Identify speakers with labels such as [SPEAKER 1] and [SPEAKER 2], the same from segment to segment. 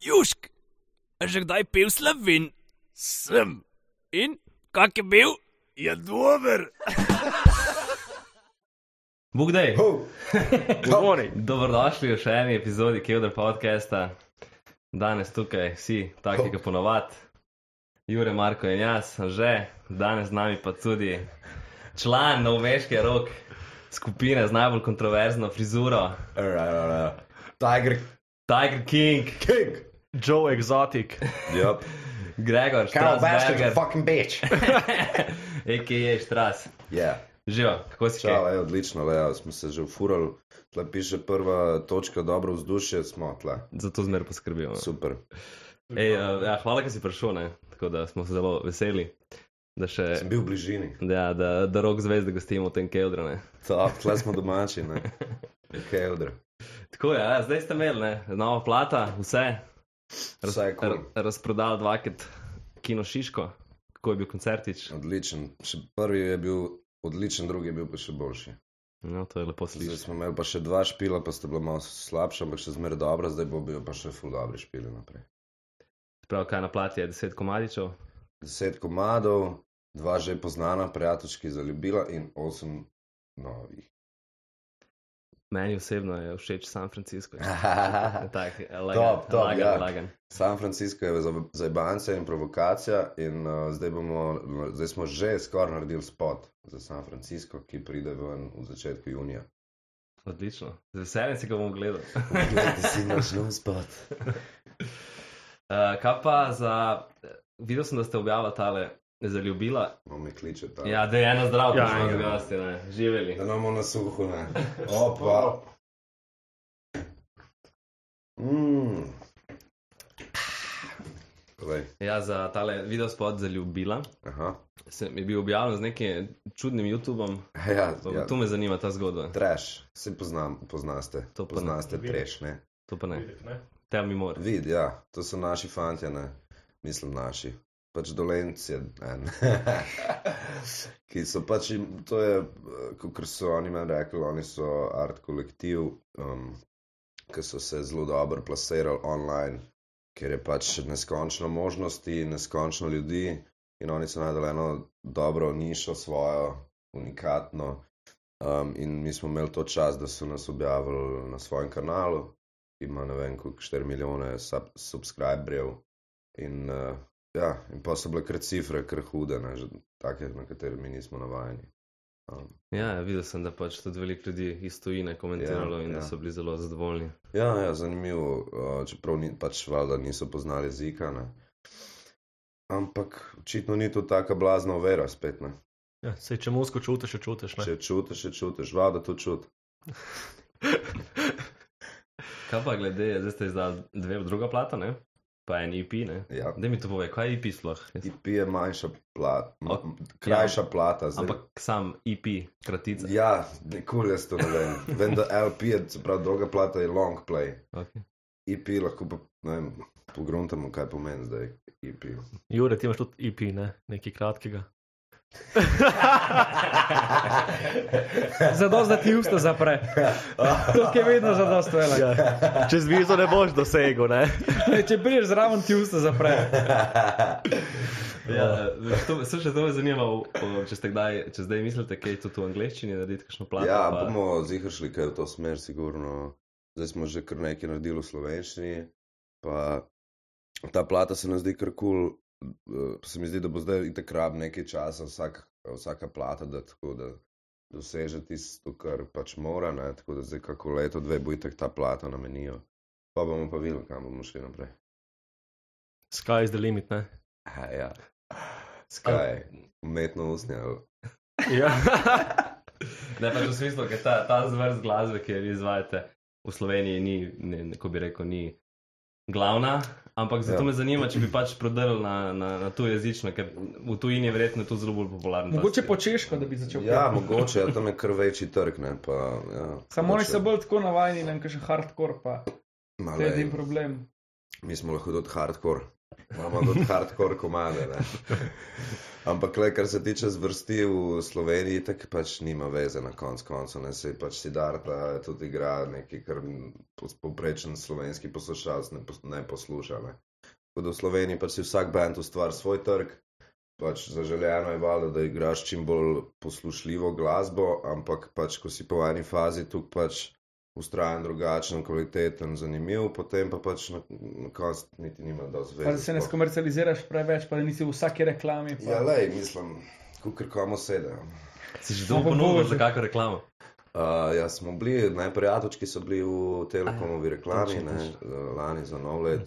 [SPEAKER 1] Južk, a že kdaj pil slovin?
[SPEAKER 2] Sem,
[SPEAKER 1] In kak je bil?
[SPEAKER 2] je dober.
[SPEAKER 3] Bog da je.
[SPEAKER 4] Oh.
[SPEAKER 2] Govori.
[SPEAKER 3] Dobrodošli v še eni epizodi Kevdar podcasta. Danes tukaj vsi, taki, ki ponovadi. Jure, Marko in jaz, že danes z nami pa tudi član noveške rok skupine z najbolj kontroverzno frizuro,
[SPEAKER 4] Tiger
[SPEAKER 3] Tiger King,
[SPEAKER 4] King.
[SPEAKER 5] Joe Exotic,
[SPEAKER 4] Yep.
[SPEAKER 3] Gregor
[SPEAKER 4] Carol Baskin,
[SPEAKER 3] Strasberger,
[SPEAKER 4] fucking bitch.
[SPEAKER 3] EKJ Stras.
[SPEAKER 4] Ja,
[SPEAKER 3] Živo, kako si
[SPEAKER 4] Čau,
[SPEAKER 3] kaj?
[SPEAKER 4] ej, odlično, le, smo se že ufurali. Tle piše prva točka, dobro vzdušje smo tle.
[SPEAKER 3] Za to zmer poskrbimo.
[SPEAKER 4] Super.
[SPEAKER 3] Ej, eh, ja, hvala, da si prišel, ne? tako da smo se zelo veseli, da še
[SPEAKER 4] Sem bil v bližini.
[SPEAKER 3] Ja, da, da rok zvezde gostimo v tem keldru. ne.
[SPEAKER 4] Top, tle smo domači, ne. Kaj odre.
[SPEAKER 3] Tako je, ja, zdaj ste imeli, ne, nova plata, vse.
[SPEAKER 4] Vse je kul.
[SPEAKER 3] r- razprodali dvakrat kino Šiško, kako je bil koncertič.
[SPEAKER 4] Odličen. Še prvi je bil odličen, drugi je bil pa še boljši.
[SPEAKER 3] No, to je lepo
[SPEAKER 4] Zdaj
[SPEAKER 3] slišati.
[SPEAKER 4] smo imeli pa še dva špila, pa sta bila malo slabša, ampak še zmeraj dobra, zdaj bo bil pa še full dobri špili naprej.
[SPEAKER 3] Prav, kaj na plati je 10 komadičev,
[SPEAKER 4] deset komadov, dva že poznana, prijateljski zaljubila in osem novih.
[SPEAKER 3] meni osebno je všeč San Francisco. Tak, eh, lagan,
[SPEAKER 4] Ja. Top, top,
[SPEAKER 3] lagan,
[SPEAKER 4] ja.
[SPEAKER 3] lagan.
[SPEAKER 4] San Francisco je za- zajbancija in provokacija, in uh, zdaj, bomo, zdaj smo že skoraj naredili spot za San Francisco, ki pride ven v začetku junija.
[SPEAKER 3] Odlično. Z veseljem si ga bom gledal.
[SPEAKER 4] Poglejte si naš nov spot.
[SPEAKER 3] Uh, kaj pa za. eh, Videl sem, da ste objavili tale zaljubila.
[SPEAKER 4] No, me kliče ta.
[SPEAKER 3] Ja, da je ena zdrava,
[SPEAKER 5] Ja,
[SPEAKER 3] ja,
[SPEAKER 4] ja.
[SPEAKER 3] smo gosti, ne. Živeli.
[SPEAKER 4] Da imamo na suhu, ne. Opa. Mm. Povej.
[SPEAKER 3] Ja, za tale video spot zaljubila.
[SPEAKER 4] Aha.
[SPEAKER 3] Sem je bil objavljen z nekim čudnim YouTubeom.
[SPEAKER 4] Ja,
[SPEAKER 3] To,
[SPEAKER 4] ja.
[SPEAKER 3] ja. to me zanima ta zgodba.
[SPEAKER 4] Trash, se poznam, poznaste.
[SPEAKER 3] To pa ne.
[SPEAKER 4] Poznaste trash, ne?
[SPEAKER 3] To pa ne. Tell me more.
[SPEAKER 4] Vid, ja, to so naši fanti, ne? Mislim naši. Pač dolenci, en. ki so pač, jim- to je, kot so oni meni rekli, oni so art kolektiv, um, ki so se zelo dobro plasirali online, ker je pač neskončno možnosti, neskončno ljudi in oni so najdel eno dobro nišo svojo, unikatno. Um, in mi smo imeli to čas, da so nas objavili na svojem kanalu, ki ima ne vem, koliko 4 milijone sub subscriberjev. In, uh, ja, in pa so bile kar cifre, kar hude, ne, že take, na katere mi nismo navajeni. Um,
[SPEAKER 3] Ja, videl sem, da pač tudi veliko ljudi iz tujine komentiralo
[SPEAKER 4] Ja,
[SPEAKER 3] ja, in ja.
[SPEAKER 4] ja.
[SPEAKER 3] da so bili zelo zadovoljni.
[SPEAKER 4] ja, ja, zanimivo, uh, čeprav ni, pač valjda niso poznali jezika. Ne. Ampak očitno ni to taka blazna ovira, spet ne.
[SPEAKER 5] Ja, sej, če musko čutiš, še čutiš. Ne?
[SPEAKER 4] Če čutiš, če čutiš, valjda to čutiš.
[SPEAKER 3] Kaj pa glede, zdaj ste izdali dve druga plata, ne? Pa en IP, ne?
[SPEAKER 4] Ja.
[SPEAKER 3] Da mi to pove, kaj je IP sploh? Jaz-
[SPEAKER 4] IP je manjša plata,
[SPEAKER 3] Ok, ja.
[SPEAKER 4] krajša plata. Zdaj,
[SPEAKER 3] Ampak sam IP, kratica. Ja.
[SPEAKER 4] ja, nikoli jaz to ne vem. Vem, da LP je, se pravi, druga plata je long play.
[SPEAKER 3] Okay.
[SPEAKER 4] IP E lahko pa, ne vem, pogruntamo, kaj pomeni zdaj E IP.
[SPEAKER 5] Jure, ti imaš tudi IP, ne? nekaj kratkega.
[SPEAKER 6] Zadost, da ti usta zapre. To je vedno zadost velik. Ja.
[SPEAKER 5] Čez vizo ne boš dosegel, ne?
[SPEAKER 6] Če prideš zraven, ti usta zapre.
[SPEAKER 3] Ja, to, se še to me zanima, v- v- če, ste kdaj, če zdaj mislite, kaj je to v angleščini, narediti kakšno plato.
[SPEAKER 4] ja,
[SPEAKER 3] pa...
[SPEAKER 4] bomo zihar šli kaj v to smer, sigurno. Zdaj smo že kar nekaj naredili v slovenščini, pa ta plata se nam zdi kar kul. Cool. Se mi zdi, da bo zdaj itak rab nekaj časa, vsak, vsaka plata, da tako da doseže tisto, kar pač mora, ne? tako da zdaj kako leto, dve bo itak ta plata na menijo. Pa bomo pa videli, kam bomo šli naprej.
[SPEAKER 5] Sky is the limit, ne?
[SPEAKER 4] A, ja. Skaj, umetno usnje ali
[SPEAKER 5] Ja.
[SPEAKER 3] Ne, pač v smislu, ker ta, ta zvrst glasbe, ki jo vi izvajate v Sloveniji, ni, ne, kako bi rekel, ni glavna. Ampak zato
[SPEAKER 4] Ja.
[SPEAKER 3] ja. me zanima, če bi pač prodrl na, na, na tu jezično, ker v tujini je verjetno to zelo bolj popularno. Pač,
[SPEAKER 6] Mogoče po češko, da bi začel.
[SPEAKER 4] Ja, mogoče, ja, tam je kar večji trg. Ne, pa, ja,
[SPEAKER 6] Samo oni
[SPEAKER 4] mogoče.
[SPEAKER 6] so bolj tako navajeni, da je še hardcore, pa
[SPEAKER 4] Ma,
[SPEAKER 6] to je edin
[SPEAKER 4] lej,
[SPEAKER 6] problem.
[SPEAKER 4] Mi smo lahko tudi hardcore. Imamo tudi hardcore komade. Ne? Ampak, le, kar se tiče zvrsti v Sloveniji, tako pač nima veze na koncu koncev. Ne se pač Sidarta tudi igra nekaj, kar pos- povprečen slovenski poslušalec ne, pos- ne posluša. Ne? Tako da v Sloveniji pač si vsak band ustvari svoj trg. Pač zaželjeno je valjda, da igraš čim bolj poslušljivo glasbo, ampak pač, ko si po eni fazi tu pač ustrajen, drugačen, kvaliteten, zanimiv, potem pa pač na, na koncu niti nima dosti
[SPEAKER 6] Pa da
[SPEAKER 4] veze.
[SPEAKER 6] se ne
[SPEAKER 4] sploh.
[SPEAKER 6] skomercializiraš preveč, pa da nisi v vsaki reklami. Pa...
[SPEAKER 4] Ja, lej, mislim, kukar komu sedejo.
[SPEAKER 3] Si že dolgo ponudil za kakšno reklamo?
[SPEAKER 4] Uh, ja, smo bili, najprej Atočki so bili v Telekomovi reklami,
[SPEAKER 5] točno,
[SPEAKER 4] ne, eh, lani za nov let,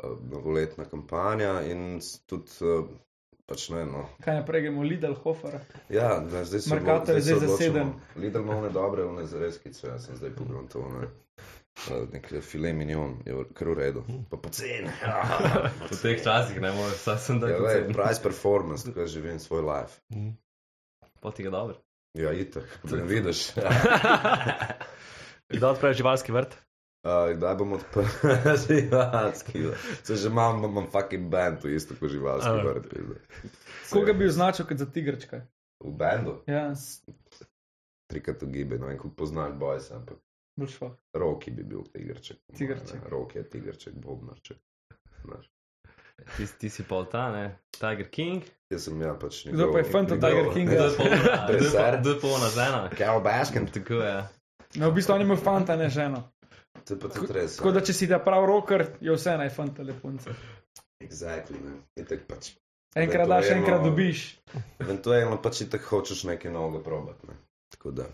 [SPEAKER 4] uh, novoletna kampanja in s- tudi, uh, pač ne, no.
[SPEAKER 6] Kaj naprej gremo, Lidl, Hofer.
[SPEAKER 4] Ja, ne, zdaj se
[SPEAKER 6] Mercator
[SPEAKER 4] odlo-
[SPEAKER 6] je
[SPEAKER 4] se
[SPEAKER 6] zdaj
[SPEAKER 4] odločamo.
[SPEAKER 6] zaseden.
[SPEAKER 4] Lidl ima one dobre, one z reskico, jaz sem zdaj pogledal, ne. Uh, nek file minion je v- kar v redu, pa poceni.
[SPEAKER 3] V teh časih ne moreš, saj sem
[SPEAKER 4] Ja,
[SPEAKER 3] tako
[SPEAKER 4] lej,
[SPEAKER 3] cen.
[SPEAKER 4] price performance, tako jaz živim svoj life.
[SPEAKER 3] Poti ga dobro.
[SPEAKER 4] Ja, itak, da ne vidiš.
[SPEAKER 5] Kdaj odpreš živalski vrt?
[SPEAKER 4] Uh, kdaj bom odprl živalski vrt? Če že imam, bom imam fucking band, to je isto kot živalski
[SPEAKER 5] A.
[SPEAKER 4] vrt. pizda.
[SPEAKER 6] Koga bi označil kot za tigrčka?
[SPEAKER 4] V bandu,
[SPEAKER 6] Ja,
[SPEAKER 4] trikrat ugibe, ne vem, kako poznaš bojsa, ampak
[SPEAKER 6] boš šlo.
[SPEAKER 4] roki bi bil tigrček.
[SPEAKER 6] Tigrček.
[SPEAKER 4] Roki je tigrček, bobnarček. Znaš.
[SPEAKER 3] Ti, ti si pol ta, ne? Tiger King.
[SPEAKER 4] Jaz sem ja pač nekdo.
[SPEAKER 6] Kdo pa je fanta Tiger
[SPEAKER 4] Ja.
[SPEAKER 6] Kinga?
[SPEAKER 3] Kdo je pol na- kdo je
[SPEAKER 4] Besar.
[SPEAKER 3] pol- kdo je pol na žena?
[SPEAKER 4] Kao Baskin.
[SPEAKER 3] Tako je. ja.
[SPEAKER 6] No, v bistvu on ima fanta, ne ženo.
[SPEAKER 4] To je pa tudi res.
[SPEAKER 6] Tako
[SPEAKER 4] ja.
[SPEAKER 6] da, če si da prav roker, je vse naj fanta lepunce.
[SPEAKER 4] Exactly, ne. Itak pač.
[SPEAKER 6] Enkrat daš,
[SPEAKER 4] Eventualno-
[SPEAKER 6] enkrat dobiš.
[SPEAKER 4] Eventualno pač itak hočeš nekaj novega probati, ne. Tako da.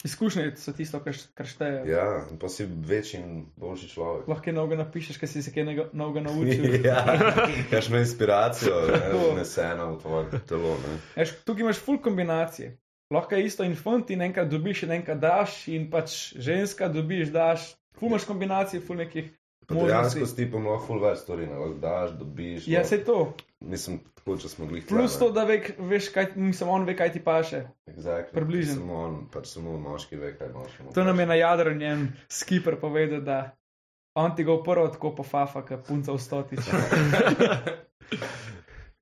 [SPEAKER 6] Izkušnje so tisto, kar š- kar šteje.
[SPEAKER 4] Ja, in pa si večji in boljši človek.
[SPEAKER 6] Lahko kaj novega napišeš, ker si se kaj nega- novega naučil.
[SPEAKER 4] ja, kakšno inspiracijo ne,
[SPEAKER 6] Tako.
[SPEAKER 4] vneseno v tvoje telo. Ne.
[SPEAKER 6] Eš, tukaj imaš full kombinacije. Lahko je isto in fant, in enkrat dobiš, in enkrat daš, in pač ženska dobiš, daš. Ful imaš kombinacije, ful nekih.
[SPEAKER 4] Pa
[SPEAKER 6] Možnosti.
[SPEAKER 4] Dejansko s tipom lahko full več stvari, ne, lahko daš, dobiš.
[SPEAKER 6] Ja,
[SPEAKER 4] lahko-
[SPEAKER 6] se to.
[SPEAKER 4] Mislim, tako če smo glih.
[SPEAKER 6] Plus to, da ve, veš, kaj, mislim, on ve, kaj ti paše.
[SPEAKER 4] Exactly.
[SPEAKER 6] približno.
[SPEAKER 4] Samo on, pač samo moški ve, kaj moški. mu
[SPEAKER 6] To nam
[SPEAKER 4] paše.
[SPEAKER 6] je na jadru njen skipper povedal, da on ti ga v prvo tako pofafa, kot punca v stoti.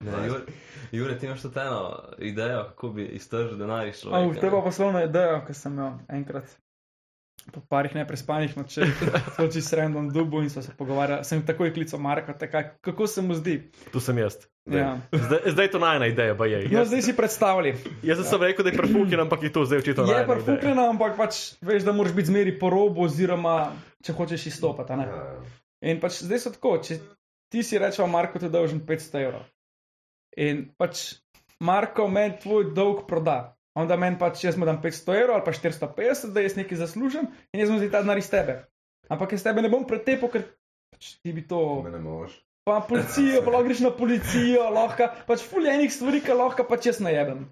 [SPEAKER 3] Ne, Jure, Jure, ti imaš tudi eno idejo, kako bi iztržil denar iz
[SPEAKER 6] Ampak
[SPEAKER 3] človeka.
[SPEAKER 6] to je
[SPEAKER 3] ne?
[SPEAKER 6] pa poslovno idejo, ki sem jo enkrat. Po parih neprespanih nočeh, toči s random dubu in so se pogovarjali, sem takoj klical Marka, taka, kako se mu zdi.
[SPEAKER 5] Tu sem jaz.
[SPEAKER 6] Ja.
[SPEAKER 5] Zdaj, zdaj je to najna ideja, pa je.
[SPEAKER 6] No,
[SPEAKER 5] Jaz,
[SPEAKER 6] zdaj si predstavljaj.
[SPEAKER 5] jaz sem rekel, da je prfuknjen, ampak je to zdaj očitno. najina
[SPEAKER 6] Je
[SPEAKER 5] ideja.
[SPEAKER 6] prfukljena, ampak pač veš, da moraš biti zmeri po robu, oziroma če hočeš izstopati. a ne.
[SPEAKER 4] Ja, ja.
[SPEAKER 6] In pač zdaj so tako, če ti si rečeš, Marko, ti dolžim 500 evrov. In pač Marko meni tvoj dolg proda. Onda meni pač, jaz mu dam 500 evrov ali pa 450, da jaz nekaj zaslužim in jaz mu zdaj ta denar iz tebe. Ampak jaz tebe ne bom pretepel, ker pač ti bi to.
[SPEAKER 4] Me ne moreš.
[SPEAKER 6] Pa policijo, pa lahko greš na policijo, lahko pač fuljenih stvari, ki lahko pač jaz najebem.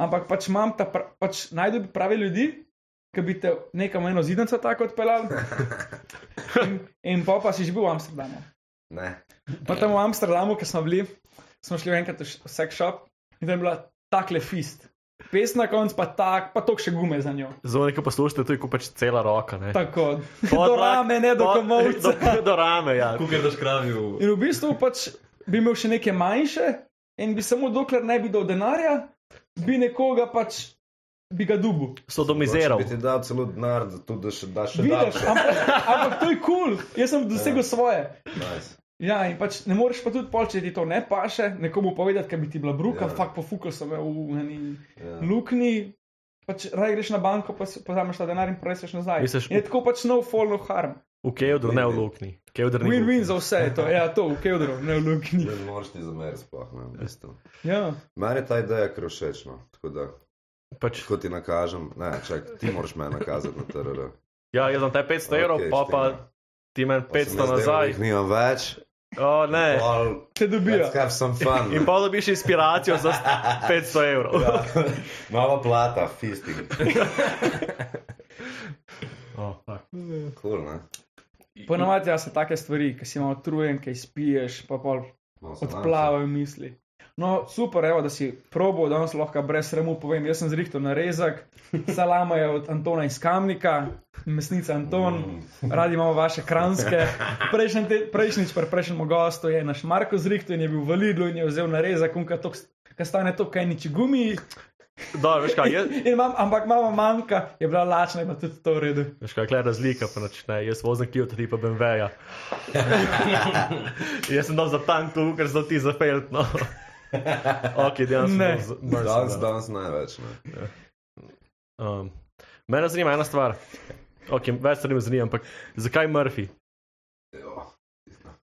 [SPEAKER 6] Ampak pač imam ta, pra, pač najdu bi prave ljudi, ki bi te nekam v eno zidnico tako odpeljal. In, in pa pa si že bil v Amsterdamu.
[SPEAKER 4] Ne.
[SPEAKER 6] Pa tam v Amsterdamu, ki smo bili, smo šli enkrat v š- v sex shop in tam je bila takle fist. Pes na koncu pa tak, pa tok še gume za njo.
[SPEAKER 5] Zvonik poslušate, to je pač cela roka. Ne?
[SPEAKER 6] Tako,
[SPEAKER 5] Pod
[SPEAKER 6] do
[SPEAKER 5] vrat,
[SPEAKER 6] rame, ne do
[SPEAKER 5] pod-
[SPEAKER 6] komovca.
[SPEAKER 5] Do, do rame, ja.
[SPEAKER 3] Kukar daš kravi v...
[SPEAKER 6] In v bistvu pač bi imel še neke manjše in bi samo dokler ne bi dal denarja, bi nekoga pač bi ga dubu.
[SPEAKER 5] Sodomiziral.
[SPEAKER 4] Če Bi ti dal celo denar, da tudi še daš še Ja.
[SPEAKER 6] Vidiš,
[SPEAKER 4] davke.
[SPEAKER 6] ampak, ampak to je kul, cool. jaz sem dosegel svoje.
[SPEAKER 4] Nice.
[SPEAKER 6] Ja, in pač ne moreš pa tudi pol, če ti to ne paše, nekomu povedati, kaj bi ti bila bruka,
[SPEAKER 4] Ja.
[SPEAKER 6] yeah. fakt pofukal sem jo v eni
[SPEAKER 4] Ja.
[SPEAKER 6] luknji. Pač raje greš na banko, pa si- pozameš ta denar in preseš nazaj.
[SPEAKER 5] Misliš-
[SPEAKER 6] In je tako pač no fall, no harm.
[SPEAKER 5] V Kevdru, ne v Lukni. Kevdr ni
[SPEAKER 6] Win-win
[SPEAKER 5] Luknja.
[SPEAKER 6] za vse je to, ja, to v Kevdru, ne v luknji.
[SPEAKER 4] Ne moreš ti zameriti sploh, ne. v bistvu.
[SPEAKER 6] Ja.
[SPEAKER 4] Meni je ta ideja kar všeč, no. Tako da,
[SPEAKER 5] Pač,
[SPEAKER 4] ko ti nakažem, ne, čak, ti moraš me nakazati na TRR.
[SPEAKER 5] ja, jaz sem te 500 evrov,
[SPEAKER 4] Okej,
[SPEAKER 5] pa pa
[SPEAKER 4] štima.
[SPEAKER 5] ti meni
[SPEAKER 4] Pa sem
[SPEAKER 5] 500
[SPEAKER 4] jaz delal, da
[SPEAKER 5] nazaj.
[SPEAKER 4] jih Nimam več.
[SPEAKER 5] O, ne.
[SPEAKER 4] Pol-
[SPEAKER 6] Te dobijo.
[SPEAKER 4] Let's have some fun.
[SPEAKER 5] In pa dobiš inspiracijo za 500 evrov.
[SPEAKER 4] Ja. Nova plata, fisting.
[SPEAKER 5] Oh, fuck.
[SPEAKER 4] Cool, ne?
[SPEAKER 6] Ponovadi ja, so take stvari, ki si malo utrujen, ki spiješ, pa pol
[SPEAKER 4] Malo se namešam.
[SPEAKER 6] odplavajo misli. No, super, evo, da si probo, da vas lahko brez sramu povem. Jaz sem zrihtel na rezak, salama je od Antona iz Kamnika, mesnica Anton, radi imamo vaše kranske. Prejšnji te- Prejšnjič, pri prejšnjem gostu je naš Marko zrihtel in je bil v Lidlu in je vzel na rezak, unka to, kaj stane to, kaj nič gumi.
[SPEAKER 5] Da, veš kaj, jaz,
[SPEAKER 6] In imam, ampak mama manjka, je bila lačna, ima tudi to v redu.
[SPEAKER 5] veš kaj, kaj je razlika, pa noč ne, jaz vozim kijo, ti pa BMW-ja. jaz sem dal za tank, tu, ker zdaj ti za felt, no. ok, dejansko.
[SPEAKER 6] Ne.
[SPEAKER 5] bom z- mrzl,
[SPEAKER 4] Danes,
[SPEAKER 5] da.
[SPEAKER 4] danes največ. Ne.
[SPEAKER 5] Um, mene zanima ena stvar. Ok, več stvari me zanima, ampak zakaj Murphy?
[SPEAKER 4] Jo,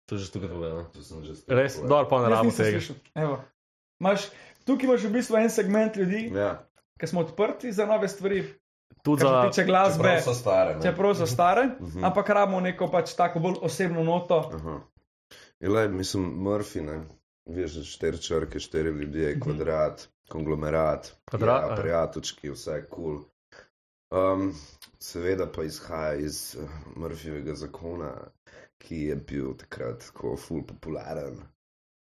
[SPEAKER 3] To že tukaj povedano.
[SPEAKER 4] to sem že spet
[SPEAKER 5] Res,
[SPEAKER 4] povedal.
[SPEAKER 5] dobro, pa ne
[SPEAKER 6] Jaz
[SPEAKER 5] rabim
[SPEAKER 6] nisem
[SPEAKER 5] tega.
[SPEAKER 6] slišal. Evo. Imaš, tukaj imaš v bistvu en segment ljudi,
[SPEAKER 4] Ja,
[SPEAKER 6] ki smo odprti za nove stvari,
[SPEAKER 5] Tudi
[SPEAKER 6] kar se
[SPEAKER 5] za.
[SPEAKER 6] tiče glasbe.
[SPEAKER 4] čeprav so stare. ne.
[SPEAKER 6] Čeprav so stare,
[SPEAKER 4] Mhm.
[SPEAKER 6] ampak rabimo neko pač tako bolj osebno noto.
[SPEAKER 4] Aha. Ilaj, mislim, Murphy, ne? veš, že štiri črke, štiri ljudje, kvadrat, konglomerat,
[SPEAKER 5] Mhm. Kvadrat,
[SPEAKER 4] ja,
[SPEAKER 5] a ja.
[SPEAKER 4] prijateljčki, vse je kul. Cool. Um, seveda pa izhaja iz eh, Murphyjevega zakona, ki je bil takrat tako ful popularen,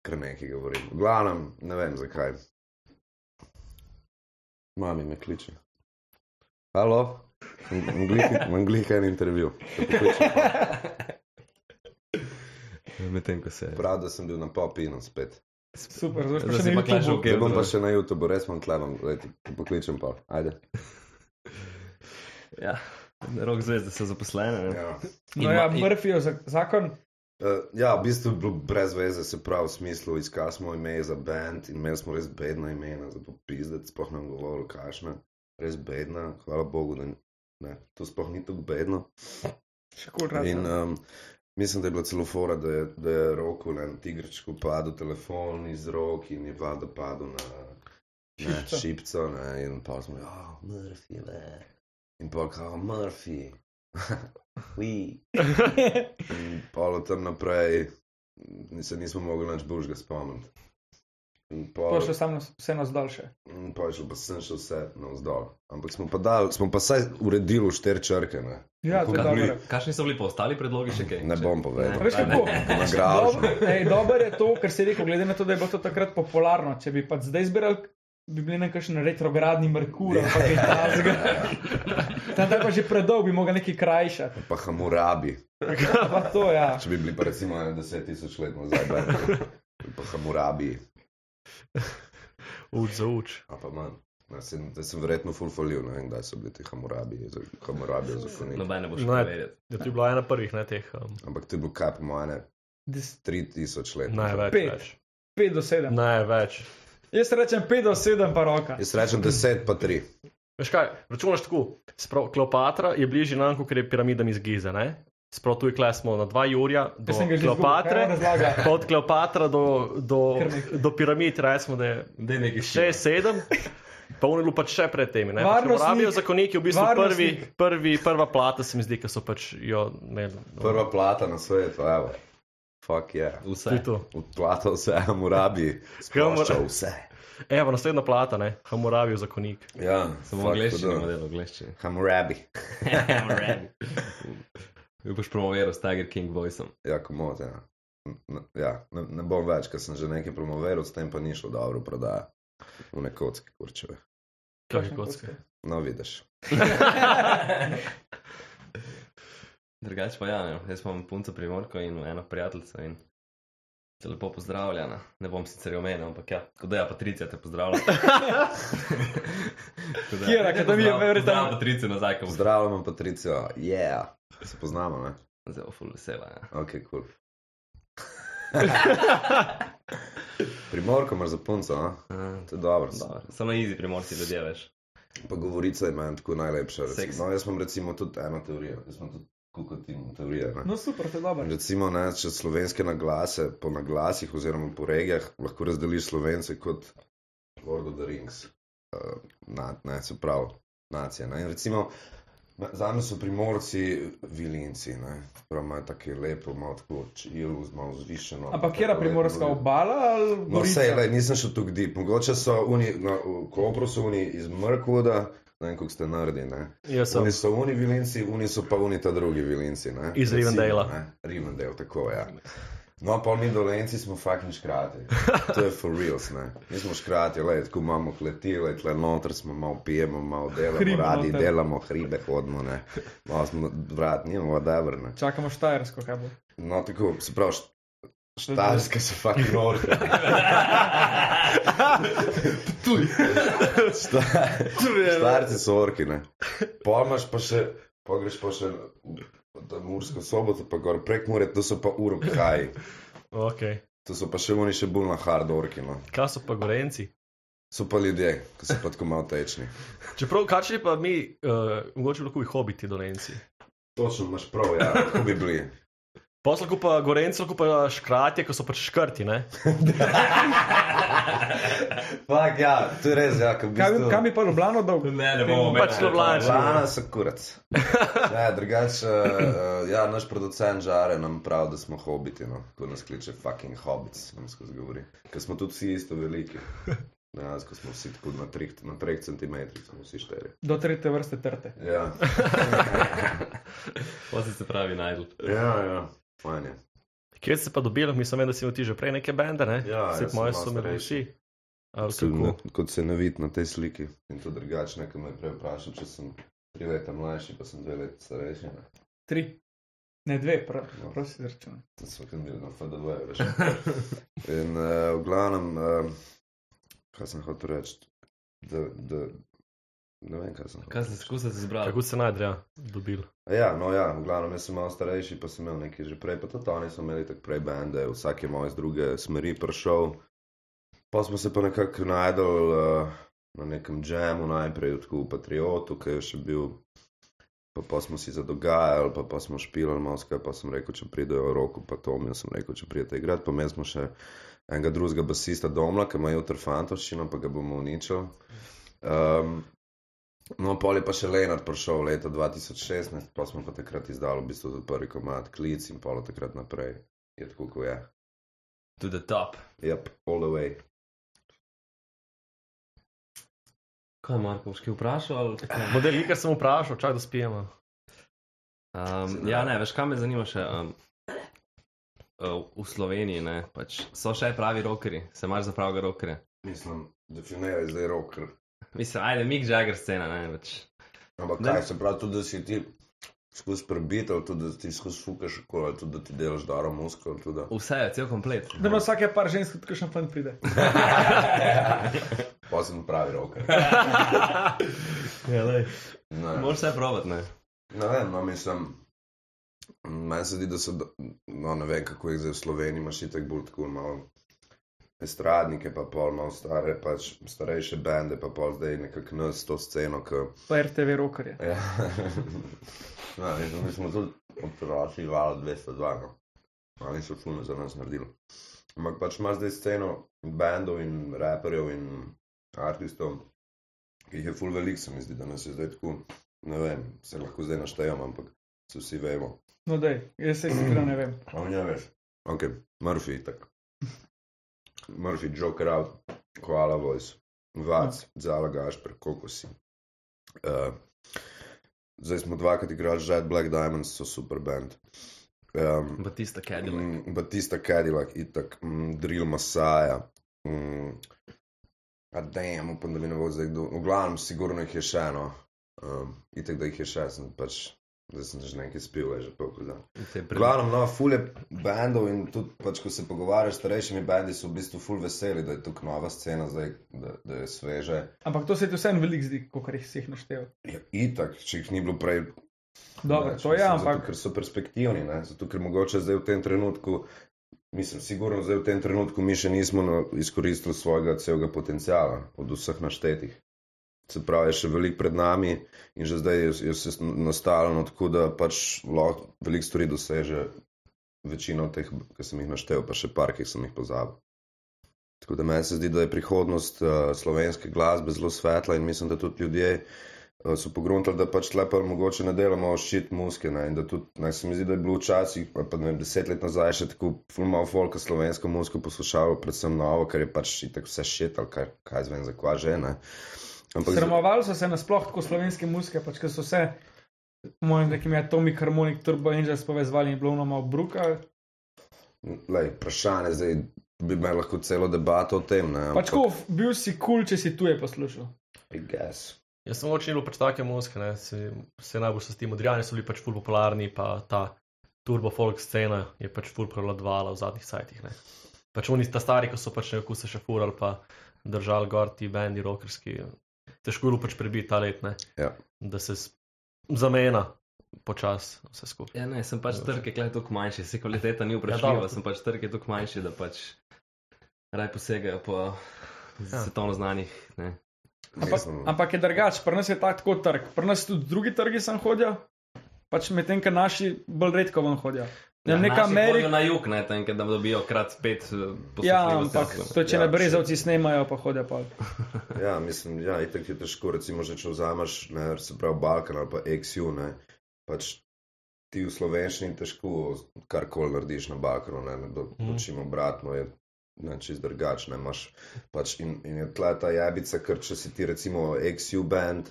[SPEAKER 4] kar nekaj govorim. V glavnem, ne vem zakaj. Mami me kliče. Halo, imam glih- imam glih en intervju. Te pokličem pol.
[SPEAKER 3] Medtem ko se.
[SPEAKER 4] Prav, da sem bil na pol pinom spet.
[SPEAKER 6] Super, zdaj
[SPEAKER 3] Zdaj
[SPEAKER 6] pa
[SPEAKER 3] si
[SPEAKER 6] še
[SPEAKER 3] pa
[SPEAKER 6] ne
[SPEAKER 3] klašel,
[SPEAKER 6] YouTube.
[SPEAKER 3] okej.
[SPEAKER 4] Zdaj bom pa še na YouTubu, res imam tlevam, pokličem pa. Ajde.
[SPEAKER 3] Ja, rok zvezde so zaposlene. ne.
[SPEAKER 4] Ja.
[SPEAKER 6] No ja, Murphyjev za- zakon.
[SPEAKER 4] Uh, ja, v bistvu je bilo brez veze, se pravi, v smislu, iskali smo ime za band in imeli smo res bedna imena, zato pizdec, sploh nam govoril, kašna, res bedna, hvala Bogu, da ne, to sploh ni tako bedno.
[SPEAKER 6] Še kul
[SPEAKER 4] In
[SPEAKER 6] rad.
[SPEAKER 4] um, mislim, da je bila celo fora, da je, da je roko na tigrčku padel telefon iz rok in je vlada padel na, na
[SPEAKER 6] Šipco.
[SPEAKER 4] šipco. Ne, in pa smo, ja, oh, Murphy, ne. In pa kao, Murphy, we. In pa od tam naprej m, se nismo mogli nič božga spomniti. In pol-
[SPEAKER 6] To še samo vseeno zdolše.
[SPEAKER 4] In pa je šlo, pa sem šel vse navzdol. Ampak smo pa, dal, smo pa vsaj uredili v štiri črke. Ne,
[SPEAKER 6] Ja, to je
[SPEAKER 3] Kakšni-
[SPEAKER 6] dobro.
[SPEAKER 3] Kakšni so bili pa ostali predlogi še kaj?
[SPEAKER 4] ne
[SPEAKER 3] Še-
[SPEAKER 4] bom povedal.
[SPEAKER 6] Veš kako?
[SPEAKER 4] Nagrajaš me.
[SPEAKER 6] Dobro- ej, Dobro je to, kar si rekel, glede na to, da je bilo to takrat popularno. Če bi pač zdaj zbiral, bi bili nekakšen retrogradni Merkur ali pa kaj takega. Tam je pa že predolg, bi mogel nekaj krajšati.
[SPEAKER 4] Pa Hamurabi.
[SPEAKER 6] Pa to, ja.
[SPEAKER 4] Če bi bili pa recimo ene 10 tisoč let nazaj, Berkeley, ali pa Hamurabi,
[SPEAKER 5] Uč za uč.
[SPEAKER 4] ali pa manj. Ne, sem, da sem verjetno full falil, ne vem, kdaj so bili ti Hamurabi, za- Hamurabi zakoniti.
[SPEAKER 3] Noben ne boš
[SPEAKER 5] No, je-
[SPEAKER 3] preveril.
[SPEAKER 5] Ja, to je bila ena prvih, ne teh. Um,
[SPEAKER 3] No.
[SPEAKER 4] Ampak to je bilo kaj po mojem,
[SPEAKER 6] Des-
[SPEAKER 4] 3000 let.
[SPEAKER 3] No, ja.
[SPEAKER 5] največ.
[SPEAKER 6] Pet.
[SPEAKER 5] Več.
[SPEAKER 6] 5 do 7.
[SPEAKER 5] Največ.
[SPEAKER 6] Jaz rečem 5 do 7 pa roka.
[SPEAKER 4] Jaz rečem 10 pa 3.
[SPEAKER 5] Veš kaj, računaš tako. Sprav, Kleopatra je bližje nam, kot je piramidam iz Gize. Ne? Sprav tu je klesmo na dva Jurija, do
[SPEAKER 6] Jaz sem ga že
[SPEAKER 5] Kleopatre,
[SPEAKER 6] izgubil, kaj on razlaga?
[SPEAKER 5] pa od Kleopatra do, do,
[SPEAKER 6] Krmek.
[SPEAKER 5] do piramid, recimo, da je
[SPEAKER 3] Daj nekaj
[SPEAKER 4] ja.
[SPEAKER 5] še sedem. Pa oni lupa še pred temi. ne. Pač
[SPEAKER 6] Varnostnik.
[SPEAKER 5] Morabijo zakoniki, v bistvu prvi,
[SPEAKER 6] Varnostnik.
[SPEAKER 5] prvi, prva plata se mi zdi, ki so pač jo imeli.
[SPEAKER 3] No.
[SPEAKER 4] Prva plata na svetu, evo. Fuck je. Yeah.
[SPEAKER 5] To je
[SPEAKER 3] Vse.
[SPEAKER 5] to.
[SPEAKER 4] Odplata vse Hamurabi, sprošča vse.
[SPEAKER 5] Evo, naslednja plata, ne, Hamurabijo zakonik.
[SPEAKER 4] Ja,
[SPEAKER 3] Samo v
[SPEAKER 4] fuck,
[SPEAKER 3] angleščini
[SPEAKER 4] hudo.
[SPEAKER 3] model, v angleščini.
[SPEAKER 4] Hamurabi.
[SPEAKER 3] Jo boš promoviral s Tiger King voiceom.
[SPEAKER 4] Ja, komod, ja. N- Ja, ne, ne bom več, ker sem že nekaj promoviral, s tem pa ni šlo dobro prodaja. V nekotski kurčeve.
[SPEAKER 5] Kakšne kocke.
[SPEAKER 4] No, vidiš.
[SPEAKER 3] Drugač pa ja, ne. jaz imam punco primorko in eno prijateljico in te lepo pozdravljena. Ne bom sicer jo omenil, ampak ja, kot da je Patricija te pozdravlja. Tako da-
[SPEAKER 6] Kjer, akademija,
[SPEAKER 3] Pozdrav-
[SPEAKER 6] verjetno.
[SPEAKER 3] Pozdrav Patricijo nazaj, ko pozdravljam.
[SPEAKER 4] Pozdravljamo Patricijo, yeah. se poznamo, ne?
[SPEAKER 3] Zelo ful vesela. Ja.
[SPEAKER 4] Ok, kul. Cool. Primorko imaš za punco, a?
[SPEAKER 3] Uh,
[SPEAKER 4] To je dobro.
[SPEAKER 3] Samo easy primorci ljudje, veš.
[SPEAKER 4] Pa govorica je meni tako najlepša. recimo.
[SPEAKER 3] Seks.
[SPEAKER 4] No, jaz imam recimo tudi eno teorijo, jaz imam tudi kukotim teorije, ne?
[SPEAKER 6] No, super, to je dobro.
[SPEAKER 4] Recimo, ne, če slovenske naglase po naglasih oziroma po regijah lahko razdeliš slovence kot Lord of the Rings, uh, na, ne, se pravi, nacije. Ne. In recimo, na- zame so primorci vilinci, ne, prav imajo tako lepo, malo tako čil, malo zvišeno.
[SPEAKER 6] Ampak
[SPEAKER 4] tako
[SPEAKER 6] kjera
[SPEAKER 4] lepo
[SPEAKER 6] primorska
[SPEAKER 4] govorijo.
[SPEAKER 6] obala ali
[SPEAKER 4] No,
[SPEAKER 6] gorica?
[SPEAKER 4] vse, le, nisem šel tako deep. Mogoče so oni, no, v Kopru so oni iz Mrkoda, ne vem, kako ste naredi, ne.
[SPEAKER 5] Jaz sem.
[SPEAKER 4] Oni so oni vilinci, oni so pa oni ta drugi vilinci. Ne?
[SPEAKER 5] Iz
[SPEAKER 4] Recimo,
[SPEAKER 5] Rivendala.
[SPEAKER 4] ne. Rivendale, tako je. Ja. No, pa mi dolenci smo fucking škrati. To je for reals, ne. Mi smo škrati, le, tako imamo kleti, le, tle noter smo, malo pijemo, malo delamo,
[SPEAKER 6] Hrib
[SPEAKER 4] Hribe radi
[SPEAKER 6] noter.
[SPEAKER 4] noter. delamo, hribe hodimo, ne. Malo smo vrat, nimamo davrne.
[SPEAKER 6] Čakamo štajersko, kaj bo.
[SPEAKER 4] No, tako, se pravi, št- štajerska se fucking norka. Tuj.
[SPEAKER 6] ja.
[SPEAKER 4] Štarci so orki, ne. Pa imaš pa še, pa greš pa še v ta Mursko soboto, pa gor prek Mure, to so pa urobkaji.
[SPEAKER 5] Okay.
[SPEAKER 4] To so pa še oni še bolj na hard orki, no.
[SPEAKER 5] Kaj so pa gorenci?
[SPEAKER 4] So pa ljudje, ki so pa tako malo tečni.
[SPEAKER 5] Čeprav kačni pa mi, uh, mogoče lahko jih hobiti dolenci.
[SPEAKER 4] Točno imaš prav, ja, tako bi bili.
[SPEAKER 5] Posla lahko pa gorenci, lahko pa škratje, ko so pač škrti, ne?
[SPEAKER 4] Fak, ja, to je res, ja, ko bi
[SPEAKER 6] Kaj, bi- kaj bi pa Ljubljano dolgo?
[SPEAKER 3] Ne, ne bomo
[SPEAKER 5] Pač Ljubljana.
[SPEAKER 4] Žana so kurac. Ne, Ja, drugače, eh, ja, naš producent Žare nam pravi, da smo hobiti, no, ko nas kliče fucking hobbits, nam skozi govori. Ker smo tudi vsi isto veliki. Dejansko smo vsi tako na 3 cm, smo vsi štiri.
[SPEAKER 6] Do tretje vrste trte.
[SPEAKER 4] Ja,
[SPEAKER 3] Posi se pravi najdel.
[SPEAKER 4] ja, ja. fajn je.
[SPEAKER 5] Kje se pa dobil, mislim, vem, da si imel ti že prej neke bende, ne?
[SPEAKER 4] Ja,
[SPEAKER 5] se
[SPEAKER 4] jaz sem
[SPEAKER 5] moje
[SPEAKER 4] malo
[SPEAKER 5] so imeli
[SPEAKER 4] starejši.
[SPEAKER 5] vsi. Ali
[SPEAKER 4] Sem
[SPEAKER 5] kako?
[SPEAKER 4] na- Kot se ne vidi na tej sliki. In to drugače, nekaj me je prej vprašal, če sem 3 leta mlajši, pa sem 2 leta starejši. Ne?
[SPEAKER 6] Tri. Ne dve, prav,
[SPEAKER 4] No.
[SPEAKER 6] prosim, izračunaj.
[SPEAKER 4] To smo kar imeli na FDV, veš. In uh, v glavnem, uh, kaj sem hotel reči, da, da ne vem, kaj sem hotel.
[SPEAKER 3] Kaj se skuša zbrati?
[SPEAKER 5] Kako se najde, ja, dobil.
[SPEAKER 4] A Ja, no ja, v glavnem jaz sem malo starejši, pa sem imel nekaj že prej, pa tudi oni so imeli tako prej bende, vsak je malo iz druge smeri prišel. Pa smo se pa nekako najdel uh, na nekem džemu, najprej tako v Patriotu, ki je še bil, pa, pa smo si zadogajali, pa, pa smo špilali Moskva, pa sem rekel, če pridejo roko, pa to mi sem rekel, če pridete igrati, pa imeli smo še enega drugega basista Domla, ki ima jutr fantoščino, pa ga bomo uničili. Um, No, pol je pa še Leonard prišel leta 2016, pa smo pa takrat izdali v bistvu prvi komat klic in pol od takrat naprej je tako, kot je.
[SPEAKER 3] To the top.
[SPEAKER 4] Yep, all the way.
[SPEAKER 3] Kaj, Marko, boš kaj vprašal? ali kako?
[SPEAKER 5] Model igre sem vprašal, čak da spijemo.
[SPEAKER 3] Um, ja, ne, veš, kaj me zanima še. Um, uh, v Sloveniji ne, pač so še pravi rokeri, se imaš za pravega rokerja.
[SPEAKER 4] Mislim, definiraj zdaj roker.
[SPEAKER 3] Mislim, ajde, Mick Jagger scena, ne pač, več.
[SPEAKER 4] Ampak
[SPEAKER 3] Ne.
[SPEAKER 4] kaj se pravi, tudi da si ti skozi prebit, ali tudi da ti skozi fukaš okol, ali tudi da ti delaš daro muskul, ali tudi da.
[SPEAKER 3] Vse je, cel komplet.
[SPEAKER 6] Da ima vsake par žensk, tudi kakšen fan pride.
[SPEAKER 4] Pa sem pravi roker.
[SPEAKER 5] Ja, lej.
[SPEAKER 4] Ne.
[SPEAKER 3] Moraš vse provat, ne.
[SPEAKER 4] Ne vem, no, mislim. Meni se zdi, da so, do- no, ne vem, kako je zdaj v Sloveniji, imaš itek bolj tako malo estradnike, pa pol malo stare, pač starejše bende, pa pol zdaj nekako nas to sceno, ki.
[SPEAKER 6] Pa RTV rokerje.
[SPEAKER 4] Ja. no, mislim, mi smo tudi odrasli, vala 202, no. ali so fulno za nas naredili. Ampak pač imaš zdaj sceno bendov in raperjev in artistov, ki jih je ful velik, se mi zdi, da nas je zdaj tako, ne vem, se lahko zdaj naštejemo, ampak se vsi vemo.
[SPEAKER 6] No, dej, jaz se iskreno ne vem.
[SPEAKER 4] A ne veš. Ok, Murphy je tak. Murphy, Joker out, Koala Voice, Vac, Zalagaš, Kokosi. Uh, zdaj smo dvakrat igrali Jet Black Diamonds, so super band. Um,
[SPEAKER 3] Batista Cadillac.
[SPEAKER 4] Mm, Batista Cadillac, itak, mm, Drill Masaja. Mm, a dajem, upam, da mi ne bo zdaj kdo. V glavnem, sigurno jih je še eno. Um, itak, da jih je še, sem pač, zdaj sem že nekaj spil, le že polk dan.
[SPEAKER 3] Se je
[SPEAKER 4] V
[SPEAKER 3] pri-
[SPEAKER 4] glavnem, no, ful je bendov in tudi, pač, ko se pogovarjaš s starejšimi bendi, so v bistvu ful veseli, da je tukaj nova scena, zdaj, da, da je sveže.
[SPEAKER 6] Ampak to se ti vseeno veliko zdi, kot jih vseh našteval.
[SPEAKER 4] Ja, itak, če jih ni bilo prej
[SPEAKER 6] Dobro,
[SPEAKER 4] Več,
[SPEAKER 6] to je,
[SPEAKER 4] Ja, mislim, Zato,
[SPEAKER 6] ampak
[SPEAKER 4] ker so perspektivni, ne? zato ker mogoče zdaj v tem trenutku, mislim, sigurno zdaj v tem trenutku mi še nismo na, izkoristili svojega celega potencijala od vseh naštetih. Se pravi, je še veliko pred nami in že zdaj je, je vse nastavljeno tako, da pač lahko veliko stvari doseže večino teh, ki sem jih naštel, pa še par, ki sem jih pozabil. Tako da meni se zdi, da je prihodnost uh, slovenske glasbe zelo svetla in mislim, da tudi ljudje eh, so pogruntali, da pač lepo mogoče ne delamo šit muske. Ne? in Da tudi, ne, se mi zdi, da je bilo včasih, pa, pa ne vem, deset let nazaj še tako fulmal folka slovensko musko poslušalo, predvsem novo, ker je pač itak vse šit ali kaj, kaj zvem za kva že. Ne? Ampak
[SPEAKER 6] sramovali so se nasploh tako slovenske muzike, pač ker so se, po mojem, z nekimi Atomic Harmonic Turbo Angels povezovali in bilo ono malo bruka.
[SPEAKER 4] Lej, vprašanje, zdaj bi imel lahko celo debato o tem. Ne,
[SPEAKER 6] Pač ko bil si kul, cool, če si tuje poslušal.
[SPEAKER 4] I guess.
[SPEAKER 5] Jaz sem očil pač take mozke, ne, se, se najbolj so s tem odrijani, so bili pač ful popularni, pa ta turbo folk scena je pač ful prevladovala v zadnjih sajtih. Ne. Pač oni ta stari, ko so pač nekako se še furali, pa držali gor ti bendi rokerski, težko je bilo pač prebiti ta let, ne,
[SPEAKER 4] Ja.
[SPEAKER 5] da se s- zamena počas vse skupaj.
[SPEAKER 3] Ja, ne, sem pač trg je tako manjši, se kvaliteta ni
[SPEAKER 5] Ja,
[SPEAKER 3] vprašljiva,
[SPEAKER 5] dobro.
[SPEAKER 3] ja, sem pač trg je tako manjši, da pač raj posegajo po ja. svetovno znanih. Ne.
[SPEAKER 6] Ampak,
[SPEAKER 4] Mislim,
[SPEAKER 6] ampak je drugače, pri nas je tak- tako trg. Pri nas tudi drugi trgi sem hodil, pač medtem, ker naši bolj redko ven hodijo. Ja, neka
[SPEAKER 3] naši hodijo
[SPEAKER 6] Amerika.
[SPEAKER 3] Na jug, ne, tam, da dobijo krat eh, spet posebej.
[SPEAKER 6] Ja, ampak to, je, če
[SPEAKER 4] Ja,
[SPEAKER 6] ne brezavci snemajo, pa hodijo pa.
[SPEAKER 4] Ja, mislim, ja, itak je težko, recimo, že če vzameš, ne, se pravi, Balkan ali pa XU, ne, pač ti v slovenščini težko karkoli narediš na Balkanu, ne, nekdo
[SPEAKER 5] Mhm.
[SPEAKER 4] počim mm. obratno je. Ne, čist drugačne imaš. Pač in, in je tla ta jabica, ker če si ti recimo XU band,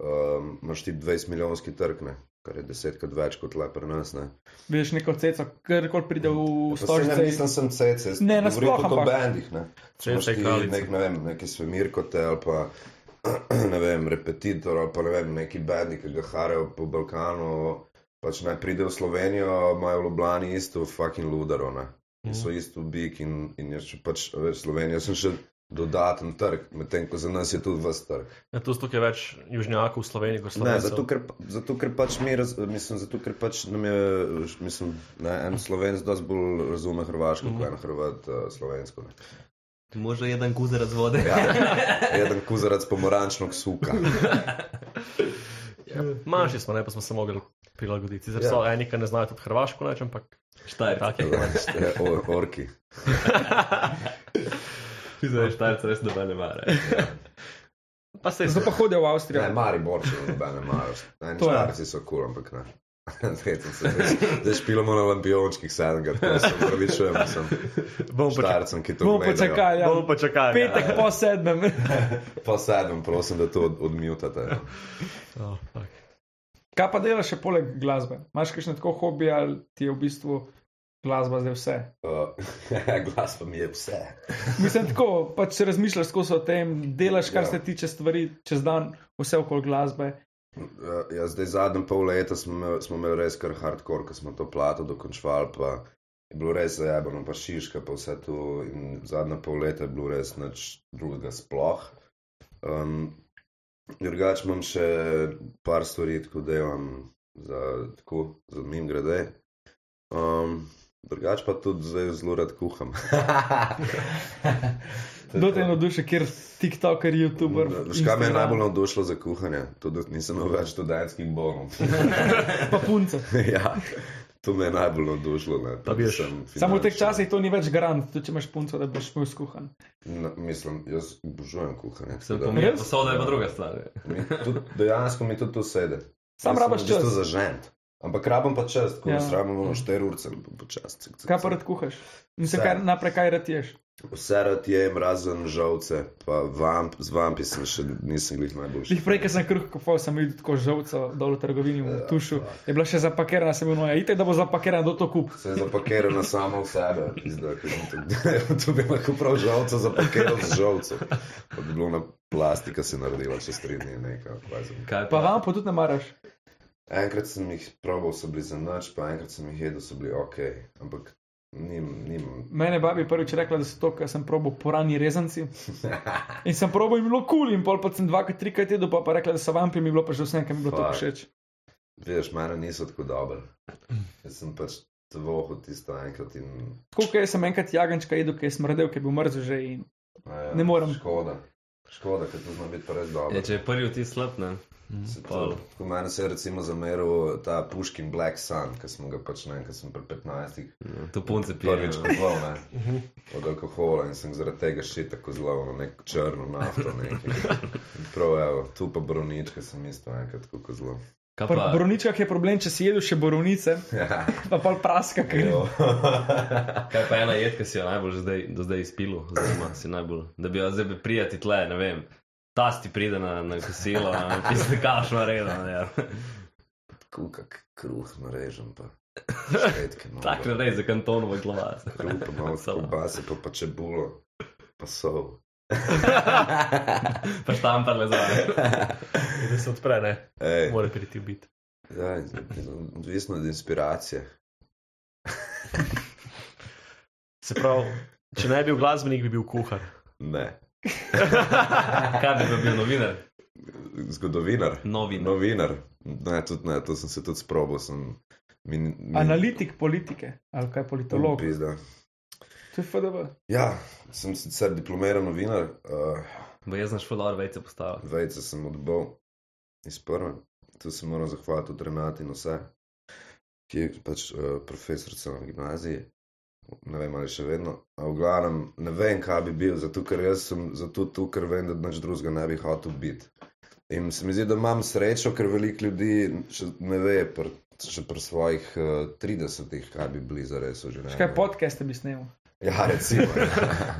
[SPEAKER 4] um, imaš ti 20 milijonski trg, ne, kar je desetkrat več kot le pri nas. Ne.
[SPEAKER 6] Vidiš neko ceco, karkoli pride v
[SPEAKER 4] Ja, Pa saj ne
[SPEAKER 6] stožice.
[SPEAKER 4] mislim, sem cece, jaz
[SPEAKER 6] Ne,
[SPEAKER 4] govorim
[SPEAKER 6] nasploh,
[SPEAKER 4] tudi o
[SPEAKER 6] ampak-
[SPEAKER 4] bendih. Ne.
[SPEAKER 5] Cece,
[SPEAKER 4] Imaš ti
[SPEAKER 5] kraljice.
[SPEAKER 4] Nek, ne vem, neki svemirkote ali pa ne vem, repetitor ali pa ne vem, neki bendi, ki ga harajo po Balkanu. Pač naj pride v Slovenijo, imajo v Ljubljani isto fucking ludaro. Ne. In so isto bik in, in je še pač, a veš, Slovenija sem še dodaten trg, medtem ko za nas je tudi vse trg.
[SPEAKER 5] Ja, tu je več južnjakov v Sloveniji kot
[SPEAKER 4] Ne,
[SPEAKER 5] Slovencev.
[SPEAKER 4] zato, ker, pa- zato, ker pač mi, raz, mislim, zato, ker pač nam je, mislim, ne, en slovenc dosti bolj razume hrvaško,
[SPEAKER 6] Mhm.
[SPEAKER 4] mm. kot en hrvat uh, slovensko. Ne.
[SPEAKER 3] Možno je dan guzer razvode.
[SPEAKER 4] Ja, Eden kuzarac pomorančnog suka.
[SPEAKER 5] Manjši smo, ne, pa smo se mogli prilagoditi. Zdaj
[SPEAKER 4] Ja.
[SPEAKER 5] so eni, ki ne znajo tudi hrvaško, neč, ampak
[SPEAKER 3] Štajr.
[SPEAKER 5] tako je.
[SPEAKER 4] Ste or- Orki.
[SPEAKER 3] Ti znaš štajrca res doba ne mare.
[SPEAKER 5] Pa se
[SPEAKER 6] Zato pa hodijo v Avstrijo.
[SPEAKER 4] Ne, Maribor še nobene maraš. Ne,
[SPEAKER 6] Ja. To je.
[SPEAKER 4] Štarci so kul, cool, ampak ne. Tretjem se zdaj- Zdaj špilamo na lampiončkih sedem, tako se upravičujem, sem
[SPEAKER 5] bomo počakali.
[SPEAKER 4] štarcem, ki to
[SPEAKER 6] Bomo
[SPEAKER 4] gledajo.
[SPEAKER 6] počakali. ja.
[SPEAKER 5] Bomo počakali. ja.
[SPEAKER 6] Petek po sedmem.
[SPEAKER 4] Pa sedem, prosim, da to no. od- odmutate.
[SPEAKER 5] Oh, fuck.
[SPEAKER 6] Kaj pa delaš še poleg glasbe? Imáš kakšne tako hobije ali ti je v bistvu glasba zdaj vse?
[SPEAKER 4] Uh, glas pa mi je vse.
[SPEAKER 6] Mislim, tako pač razmišljaš skozi o tem, delaš kar
[SPEAKER 4] Ja.
[SPEAKER 6] se tiče stvari, čez dan, vse okoli glasbe.
[SPEAKER 4] Ja, Ja, zdaj zadnje pol leta smo imeli, smo imeli res kar hardcore, ko smo to plato dokončali, pa je bilo res zajabano, pa šiška, pa vse to. In zadnje pol leta je bilo res nič drugega sploh. Um, drugač imam še par stvari, tako da imam za, tako, za mim grede. Um, drugač pa tudi zdaj zelo rad kuham.
[SPEAKER 6] Do te navduše, kjer TikToker, YouTuber.
[SPEAKER 4] Škoda me je
[SPEAKER 6] Instagram,
[SPEAKER 4] najbolj navdušilo za kuhanje, to da nisem imel več študentskih bonov.
[SPEAKER 6] Pa punce.
[SPEAKER 4] ja, to me je najbolj navdušilo. Ne,
[SPEAKER 5] Da bi ješ.
[SPEAKER 6] Samo v teh
[SPEAKER 4] finančno-
[SPEAKER 6] časih to ni več garant, tudi če imaš punco, da boš imel skuhan.
[SPEAKER 4] Na, mislim, jaz obožujem kuhanje.
[SPEAKER 3] Se
[SPEAKER 4] tako da
[SPEAKER 3] pomeni,
[SPEAKER 6] Res?
[SPEAKER 3] posoda je pa druga stvar.
[SPEAKER 4] mi tudi- Dejansko mi tudi to sedi.
[SPEAKER 6] Sam rabaš
[SPEAKER 4] čas.
[SPEAKER 6] čas.
[SPEAKER 4] Za žent. Ampak rabim pa čas, ko
[SPEAKER 6] Ja.
[SPEAKER 4] ja. rabim 4 ur, sem pa čas.
[SPEAKER 6] Kaj pa rad kuhaš? Mislim,
[SPEAKER 4] Vse.
[SPEAKER 6] kaj, naprej kaj rad ješ.
[SPEAKER 4] Vse rad jem, razen žovce, pa vamp, z vampi sem še nisem glih najboljši.
[SPEAKER 6] Lih prej, ko sem kruh kupoval, sem videl tako žovco dol v trgovini v
[SPEAKER 4] Ja,
[SPEAKER 6] tušu. Je bila še zapakirana, sem bil noja. Ite, da bo zapakirana do to kup.
[SPEAKER 4] Se je zapakirala samo v sebe, zdaj to bi lahko prav žalca zapakiral z žalcem. Pa bi bilo na plastika se naredila čez tri dni nekaj. kvazi.
[SPEAKER 3] Kaj
[SPEAKER 6] Pa vam pa tudi ne maraš.
[SPEAKER 4] Enkrat sem jih probal, so bili za noč, pa enkrat sem jih jedel, so bili ok, ampak nim, nim.
[SPEAKER 6] Mene babi je prvič rekla, da so to, kar sem probo porani rezanci. In sem probo in bilo kul, cool, in pol pa sem dvakrat, trikrat jedel, pa pa rekla, da so vampi, mi je bilo pa že vse, kar mi je bilo to
[SPEAKER 4] Fuck.
[SPEAKER 6] všeč.
[SPEAKER 4] Veš, mene niso tako dobre. Jaz sem pač tvoho tisto enkrat in...
[SPEAKER 6] Tako, ker sem enkrat jagenčka jedel, ker je smrdel, ker je bil mrzel že in
[SPEAKER 4] Ja,
[SPEAKER 6] Ne morem.
[SPEAKER 4] Škoda. Škoda, ker to zna biti pa res dobro.
[SPEAKER 3] Ja, če je prvi vtis slab, ne.
[SPEAKER 4] Se
[SPEAKER 3] Pol.
[SPEAKER 4] to- Tako meni se je recimo zameril ta Puškin Black Sun, ki smo ga pač ne, ki sem pri 15-ih
[SPEAKER 3] To punce pije.
[SPEAKER 4] prvič
[SPEAKER 3] ne.
[SPEAKER 4] kupoval
[SPEAKER 3] Mhm.
[SPEAKER 4] ne, od alkohola in sem zaradi tega še tako zelo na neko črno nafto. nekaj. In Prav, evo, tu pa bronička sem isto enkrat tako zelo.
[SPEAKER 3] Kaj
[SPEAKER 6] Pri
[SPEAKER 3] pa?
[SPEAKER 6] borovničkah je problem, če si jedel še borovnice, pa pol praska, ker je.
[SPEAKER 3] Kaj pa ena jed, ki si jo najbolj zdaj, do zdaj izpil, oziroma si najbolj, da bi jo zdaj bi prijati tle, ne vem. Tas ti pride na, na ja. kosilo, na pisne kašno redo. Ne,
[SPEAKER 4] Kukak kruh narežem pa. Švedke, malo.
[SPEAKER 3] Tako ne rej za kantonovo glava.
[SPEAKER 4] Krupa, malo kobase, pa pa čebulo, pa sol.
[SPEAKER 3] Pa štamparle zraven.
[SPEAKER 5] da se odpre, ne,
[SPEAKER 4] Ej,
[SPEAKER 5] mora priti biti.
[SPEAKER 4] ja, in- in odvisno od inspiracije.
[SPEAKER 5] Se pravi, če ne bi bil glasbenik, bi bil kuhar.
[SPEAKER 4] Ne,
[SPEAKER 3] Kaj bi pa bil novinar?
[SPEAKER 4] zgodovinar.
[SPEAKER 3] Novinar.
[SPEAKER 4] Novinar. Ne, tudi ne, to sem se tudi sprobil. Sem min, min,
[SPEAKER 6] Analitik politike, ali kaj politolog.
[SPEAKER 4] Pizda.
[SPEAKER 6] To je FDV.
[SPEAKER 4] Ja, sem sicer diplomiran novinar, uh,
[SPEAKER 3] Bo jaz znaš fular vejce postavil.
[SPEAKER 4] vejce sem odbal iz prve. Tu se moram zahvaliti tudi Renati in vse, ki je pač uh, profesorica na gimnaziji. Ne vem, ali še vedno. A v glavnem, ne vem, kaj bi bil, zato ker jaz sem zato tu, ker vem, da nič drugega ne bi hotel biti. In se mi zdi, da imam srečo, ker veliko ljudi še ne ve, pr, še pri svojih uh, 30-ih, kaj bi bili za res v življenju.
[SPEAKER 6] Še kaj podcaste bi snimal.
[SPEAKER 4] Ja, recimo.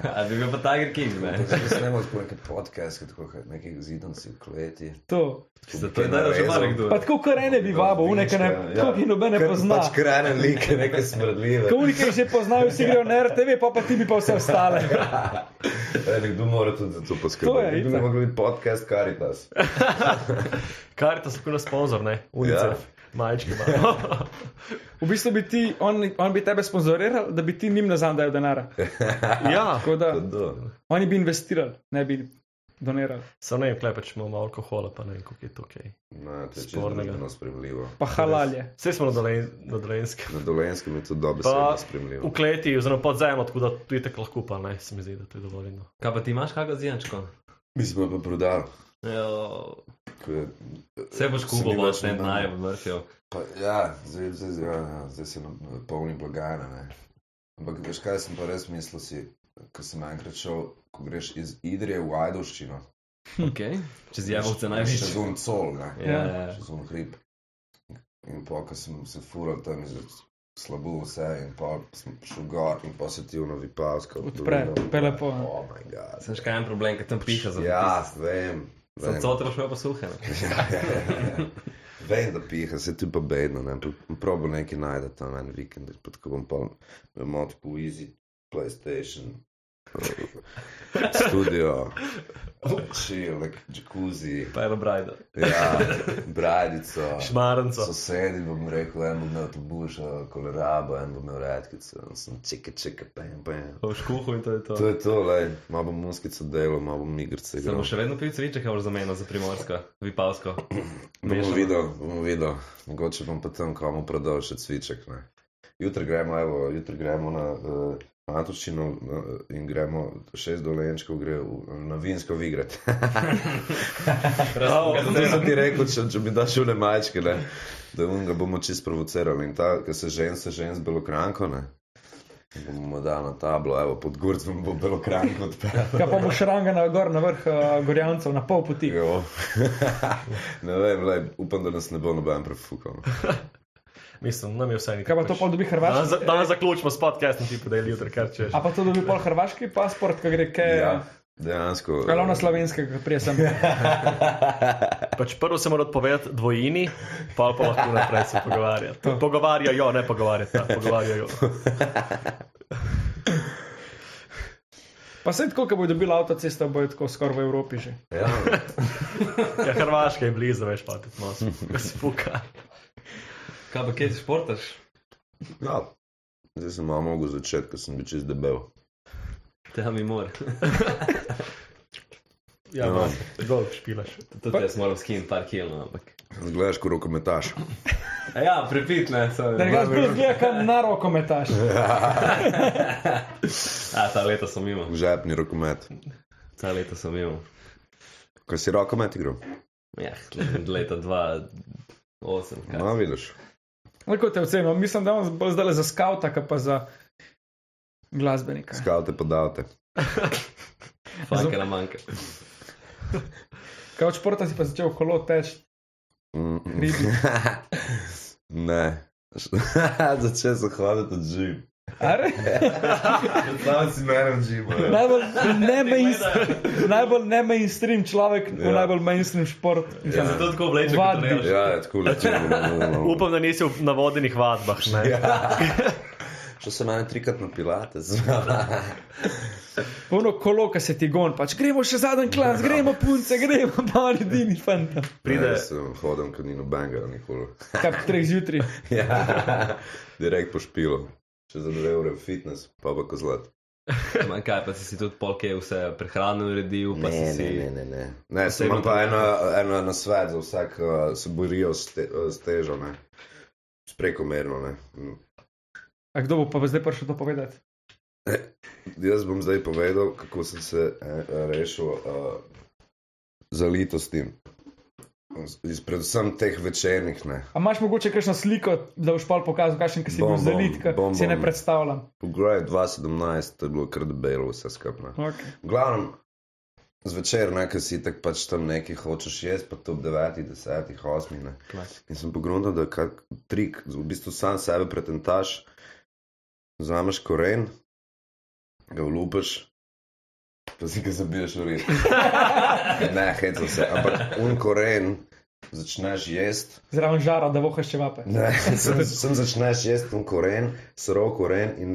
[SPEAKER 4] Ja.
[SPEAKER 3] A bi bil pa Tiger King, ne?
[SPEAKER 4] Zdaj snemo tako neke podcaste, tako kot neki zidanci v kleti.
[SPEAKER 6] To.
[SPEAKER 3] Zato je da že malo kdo.
[SPEAKER 6] Pa tako, kar ene bi vabo, uneke ne, ja. ki nobene
[SPEAKER 4] Ker
[SPEAKER 6] pozna.
[SPEAKER 4] Pač krajne like, neke smrdljive.
[SPEAKER 6] Ko unike že poznajo, vsi grejo na RTV, pa pa ti bi pa vse ostale.
[SPEAKER 4] E, nekdo mora tudi za to
[SPEAKER 6] To je,
[SPEAKER 4] poskrbeti. Nekdo bi
[SPEAKER 6] itak. Ja.
[SPEAKER 4] mogel biti podcast Caritas.
[SPEAKER 5] Kar je ta skupina sponzor, ne, unicef, ja. majčki malo.
[SPEAKER 6] V bistvu bi ti, on, on bi tebe sponzoriral, da bi ti njim nazaj dajal denar.
[SPEAKER 5] ja,
[SPEAKER 6] Tako da
[SPEAKER 4] Kdo?
[SPEAKER 6] oni bi investirali, ne bi donirali.
[SPEAKER 5] samo ne vem, kaj pač imamo alkohola, pa ne vem, kako je to kaj.
[SPEAKER 4] Ne, to je čisto
[SPEAKER 5] Spornega.
[SPEAKER 4] družbeno spremljivo.
[SPEAKER 6] Pa halalje.
[SPEAKER 5] Vse smo na Dolen- na dolenskem.
[SPEAKER 4] Na dolenskem je to dobesedno
[SPEAKER 5] Pa
[SPEAKER 4] spremljivo.
[SPEAKER 5] v kleti, oziroma pod zemljo, tako da tudi tako lahko, pa ne, se mi zdi, da to je dovolj. No.
[SPEAKER 3] Kaj pa ti imaš kako zijančko?
[SPEAKER 4] Mi smo jo pa prodali.
[SPEAKER 3] Jo,
[SPEAKER 4] ko je-
[SPEAKER 3] Vse boš
[SPEAKER 4] se
[SPEAKER 3] kubo,
[SPEAKER 4] ni
[SPEAKER 3] bo
[SPEAKER 4] več
[SPEAKER 3] še en
[SPEAKER 4] nadaljevalo.
[SPEAKER 3] najem vrtel.
[SPEAKER 4] Pa, ja, zdaj, zdaj, zdaj, ja, zdaj se nam polni blagajna. Ne. Ampak veš kaj sem pa res mislil, si, ko sem enkrat šel, ko greš iz Idrije v Ajdovščino.
[SPEAKER 3] Okay. Čez jabolce
[SPEAKER 4] Še
[SPEAKER 3] največ.
[SPEAKER 4] zvon col, ne.
[SPEAKER 3] Ja,
[SPEAKER 6] E.
[SPEAKER 3] ja.
[SPEAKER 4] Še zvon hrib. In pa, ko sem se fural tam iz slabu vse in pa sem šel gor in pa se ti v novi pasko.
[SPEAKER 6] Odpre, pele po.
[SPEAKER 4] Oh my god.
[SPEAKER 3] Sem še kaj en problem, ker tam piše za
[SPEAKER 4] Ja, vem.
[SPEAKER 3] Sem
[SPEAKER 4] vem.
[SPEAKER 3] cotro šel pa suhe.
[SPEAKER 4] Ja, ja, ja. Vem, da piha, se tu pa bedno, ne, ampak probo nekaj najde tam en vikend, pa tako bom pa imel tako easy PlayStation. eh, Studio, chill, nek jacuzzi,
[SPEAKER 3] Pa je dobrajdo.
[SPEAKER 4] ja, bradico,
[SPEAKER 5] Šmarenco.
[SPEAKER 4] sosedi bom rekel, en bo imel to bušo, kolerabo, en bo imel redkico, in sem čeke, čeke, pem, pem.
[SPEAKER 3] Pa v škuhu in to je to.
[SPEAKER 4] To je to, lej, malo bom muskico delo, malo bom igrice
[SPEAKER 3] Se
[SPEAKER 4] igral.
[SPEAKER 3] bo še vedno pil cviček, ali za meno, za primorsko, vipavsko.
[SPEAKER 4] Bomo
[SPEAKER 3] Mešamo.
[SPEAKER 4] videli, bomo videli, mogoče bom pa tam komu prodal še cviček. Ne. Jutri gremo, evo, jutri gremo na uh, Matoščino uh, in gremo šest dolenčkov, gre v, na vinsko igrati. Zdaj sem ti rekel, če, če bi dašel le majčke, ne, da um ga bomo čist provocirali in ta, ki se žen, se žen z belokranko, ne. In Bomo mu dali na tablo, evo, pod gorcem bo belokranko odpeljal.
[SPEAKER 6] Kaj pa boš ranga na gor, na vrh uh, Gorjancev, na pol poti.
[SPEAKER 4] Jo. ne vem, lej, upam, da nas ne bo noben prefukal. no.
[SPEAKER 5] Mislim, nam je vse nekaj. pač.
[SPEAKER 6] Kaj pa to pol dobi
[SPEAKER 5] Danes,
[SPEAKER 6] Hrvaški?
[SPEAKER 5] za- danes zaključimo s podcastom, ti podeli jutri, kar češ.
[SPEAKER 6] A pa to dobi pol Hrvaški pasport, ko gre kaj. Ja.
[SPEAKER 4] Ja, dejansko.
[SPEAKER 6] Kaj lovna slovenskega, ki prije sem.
[SPEAKER 5] Pač prvo se mora odpovedati dvojini, pa pa lahko naprej se pogovarjati. Pogovarjajo, ne pogovarjati, pogovarjajo.
[SPEAKER 6] Pa se tako, ko bo dobila avtocesto, bo tako skoraj v Evropi že.
[SPEAKER 4] Ja,
[SPEAKER 5] Ja, Hrvaška je blizu, veš, pa ti smo spuka.
[SPEAKER 3] Kaj pa kje ti športaš?
[SPEAKER 4] ja. Zdaj sem malo mogel začeti, ker sem bil čez debel.
[SPEAKER 3] Tega mi mora.
[SPEAKER 5] Ja, no. dolg špilaš.
[SPEAKER 3] Tudi jaz moram skin par kilno, ampak.
[SPEAKER 4] Zgledaš, ko rokometaš.
[SPEAKER 3] A ja, prepit ne, sem.
[SPEAKER 6] Da ga zbrž gleda, kam na roko metaš.
[SPEAKER 3] A, ta leta sem imel.
[SPEAKER 4] Žepni rokomet.
[SPEAKER 3] Ta leta sem imel.
[SPEAKER 4] Kaj si rokomet igral?
[SPEAKER 3] Ja, leta 2008. kaj.
[SPEAKER 4] No, vidiš.
[SPEAKER 6] Lahko No, te ocenim, mislim, da je on bolj zdaj za skavta, kot pa za glasbenika.
[SPEAKER 4] Skalte pa davte.
[SPEAKER 3] Fanka na manjka.
[SPEAKER 6] Kaj od športa si pa začel kolo teč,
[SPEAKER 4] Mm, mm.
[SPEAKER 6] ribi.
[SPEAKER 4] ne. Začel sem hoditi od žim.
[SPEAKER 6] Are?
[SPEAKER 4] Znam si menem džibo.
[SPEAKER 6] Najbolj, ne mainstream, najbolj ne mainstream človek ja. v
[SPEAKER 4] Ja.
[SPEAKER 6] najbolj mainstream športu.
[SPEAKER 5] Ja. Zato tako vleče,
[SPEAKER 6] Vadbi.
[SPEAKER 5] kot rečeš.
[SPEAKER 4] Ja, je tako lepo. no,
[SPEAKER 5] Upam, da nisi v- na vodenih vadbah. ne.
[SPEAKER 4] Šel sem mene trikrat na pilate.
[SPEAKER 6] Ono kolo, ki se ti gon, pač gremo še zadnji klas,
[SPEAKER 4] Ja.
[SPEAKER 6] gremo punce, gremo pa naredini fanta.
[SPEAKER 5] Pride-
[SPEAKER 4] Jaz sem hodil, ker ni nobenega nikoli.
[SPEAKER 6] Kap treh zjutraj.
[SPEAKER 4] Ja, direkt po špilu. Še za dve ure fitness, pa pa kozlat.
[SPEAKER 3] Ma Kaj, pa si, si tudi polke vse prehrano uredil, pa si si.
[SPEAKER 4] ne, ne, ne. Ne, sem imam pa eno, eno na svet za vsak, uh, se borijo s, te, uh, s težo, ne. S prekomerno, ne. Mm.
[SPEAKER 6] A kdo bo pa zdaj prišel to povedati?
[SPEAKER 4] Jaz bom zdaj povedal, kako sem se eh, rešil uh, zalito s tem. Iz predvsem teh večernih, ne.
[SPEAKER 6] A imaš mogoče kakšno sliko, da boš pol pokazal, kakšen ki si
[SPEAKER 4] Bom,
[SPEAKER 6] bil
[SPEAKER 4] bom,
[SPEAKER 6] zalit, ki
[SPEAKER 4] bom,
[SPEAKER 6] si ne
[SPEAKER 4] bom.
[SPEAKER 6] predstavljam.
[SPEAKER 4] Pograj 2017, to je bilo kar debelo vse skupno.
[SPEAKER 6] Okay.
[SPEAKER 4] V glavnem, zvečer, ne, ker si tako pač tam nekaj hočeš jesti, pa to ob 9, 10, 8. Ne. In sem pogledal, da je kak trik, v bistvu sam sebe pretentaš, vzameš koren, ga vlupiš. Pa si ga zabiješ v rit. ne, hecam se, ampak un koren začneš jesti.
[SPEAKER 6] Zraven žara, da vohaš čevape.
[SPEAKER 4] Ne, sem, sem začneš jesti un koren, srov koren in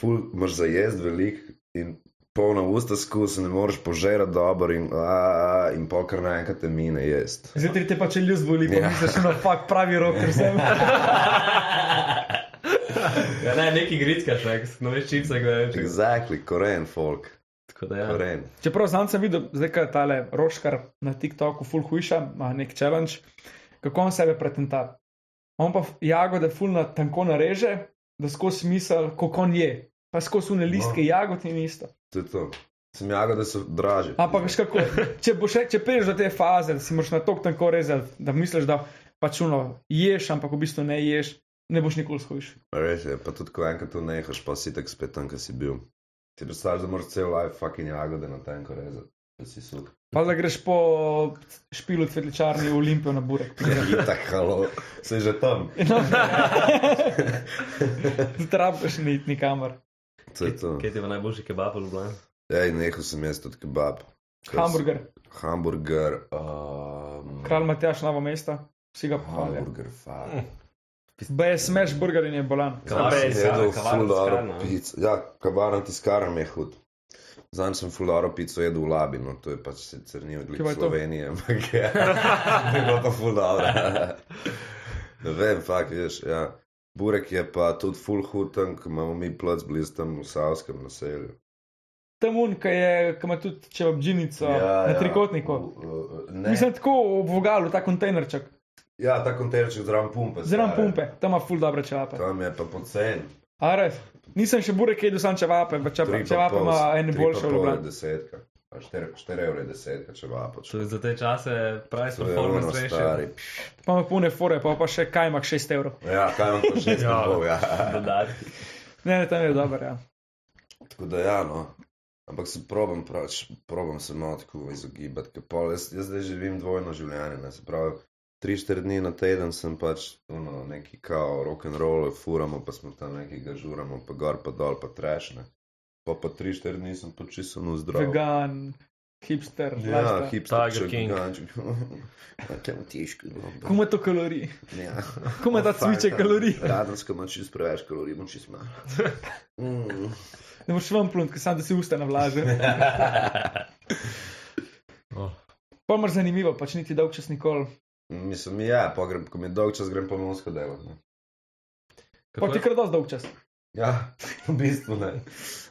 [SPEAKER 4] pul imaš za jesti velik in polna usta skus, ne moreš požerati dobro in, a, a, in pokor naenkrat te mine jesti.
[SPEAKER 6] Zjutraj te pa če ljus boli, pa
[SPEAKER 4] Ja.
[SPEAKER 6] misliš, no, fuck, pravi rok, ker sem.
[SPEAKER 3] Ja, ne, neki gritkaš, ne, no veš čipsa, ko je.
[SPEAKER 4] Exactly, koren, folk,
[SPEAKER 3] Tako da ja.
[SPEAKER 4] koren.
[SPEAKER 6] Čeprav sam sem videl, zdaj kaj je tale roškar na TikToku, full hujša, ima nek challenge, kako on sebe pretenta. On pa f- jagode full na tanko nareže, da skozi misel, kako on je. Pa skozi une listke jagod in isto.
[SPEAKER 4] To je to. Sem jago, da so draže.
[SPEAKER 6] Ampak, veš kako, če boš še, če priješ do te faze, da si moraš na tok tanko rezati, da misliš, da pač uno ješ, ampak v bistvu ne ješ, ne boš nikoli shujš.
[SPEAKER 4] Res je, pa tudi ko enkrat to nehaš, pa si tak spet tam, kjer si bil. Ti predstavljaš, da moraš cel life fucking jagode na tenko rezati, da si suk.
[SPEAKER 6] Pa da greš po špilu cvetličarni v Olimpijo na burek. No.
[SPEAKER 4] Tako, Ja, halo, se že tam.
[SPEAKER 6] Zdraviš ne iti nikamor.
[SPEAKER 4] To je to.
[SPEAKER 3] Kaj ti je pa najboljši kebab v Ljubljani?
[SPEAKER 4] Ej, nehal sem jaz tudi kebab. Ker
[SPEAKER 6] Hamburger.
[SPEAKER 4] s- no. Hamburger. Um,
[SPEAKER 6] Kralj Matjaš, novo mesto, vsi ga pohvalijo.
[SPEAKER 4] Hamburger, fuck.
[SPEAKER 6] Hm, BS Mesh burger in je bolan.
[SPEAKER 4] Tam
[SPEAKER 3] Kavarna,
[SPEAKER 6] torej,
[SPEAKER 4] sem
[SPEAKER 3] tiskarna,
[SPEAKER 6] ja,
[SPEAKER 4] jedel
[SPEAKER 3] kavarna,
[SPEAKER 4] full dobro
[SPEAKER 3] tiskarna.
[SPEAKER 4] pico. Ja, kavarna tiskarna mi je hud. Zanj sem full dobro pico jedel v Labi, no to je pač sicer ni
[SPEAKER 6] Kaj pa
[SPEAKER 4] odlično
[SPEAKER 6] je to?
[SPEAKER 4] Slovenije, ampak ja, je. Je bilo pa full dobro. ne vem, fakt, veš, ja. Burek je pa tudi full hud, tam ko imamo mi plac blizu tam v Savskem naselju.
[SPEAKER 6] Temun, ki je- ki ima tudi čevabdžinico ja, na trikotniku. Ja.
[SPEAKER 4] U- u- ne.
[SPEAKER 6] Mislim tako ob vogalu, ta kontejnerček,
[SPEAKER 4] Ja, ta kontejnerček zraven pumpe.
[SPEAKER 6] zelo
[SPEAKER 4] stare.
[SPEAKER 6] pumpe, tam ima ful dobre čevape.
[SPEAKER 4] Tam je pa pocen.
[SPEAKER 6] Aref, nisem še burek jedel, sam čevape, pa čevape, čevape ima en boljši
[SPEAKER 4] Štiri
[SPEAKER 6] oblan.
[SPEAKER 4] desetka. A štiri- Štiri evre desetka, če
[SPEAKER 3] To
[SPEAKER 4] vapo.
[SPEAKER 3] je Torej, za te čase price
[SPEAKER 4] To je ono
[SPEAKER 3] performance
[SPEAKER 4] Torej, stari.
[SPEAKER 3] ratio.
[SPEAKER 4] pš.
[SPEAKER 6] Pa ima pune fore, pa pa še kajmak 6 evrov.
[SPEAKER 4] Ja, kaj vam pa še
[SPEAKER 5] Ja.
[SPEAKER 4] spomnim, ja.
[SPEAKER 3] Dodatki.
[SPEAKER 6] Ne, ne, tam je dober, ja.
[SPEAKER 4] Tako da ja, no. Ampak se probam, prač, probam se malo tako izogibati, ker pol jaz, jaz zdaj živim dvojno življenje, ne, se pravi, tri, štiri dni na teden sem pač, ono, neki kao rock and roll, furamo, pa smo tam neki ga žuramo, pa gor, pa dol, pa trešne. Pa pa tri, štiri dni sem pač čisto no zdrav.
[SPEAKER 6] Vegan, hipster,
[SPEAKER 4] Ja,
[SPEAKER 6] lifestyle.
[SPEAKER 4] hipster, no.
[SPEAKER 5] Tiger King.
[SPEAKER 4] giganček. Tam tiško, dobro.
[SPEAKER 6] Kuma to kalorij,
[SPEAKER 4] Ja.
[SPEAKER 6] kuma ta
[SPEAKER 4] O, fakt,
[SPEAKER 6] cviče
[SPEAKER 4] ja.
[SPEAKER 6] kalorij.
[SPEAKER 4] Radensko ima čist preveč kalorij, ima čist malo. Mm.
[SPEAKER 6] Ne boš vam plunt, ker sam da si usta navlaže.
[SPEAKER 5] Oh.
[SPEAKER 6] Pa mar zanimivo, pač niti dolgčas nikoli.
[SPEAKER 4] Mislim, ja, pa grem, ko mi je dolg čas, grem pomensko delati. ne.
[SPEAKER 6] Pa ti kar dosti dolgčas.
[SPEAKER 4] Ja, v bistvu ne.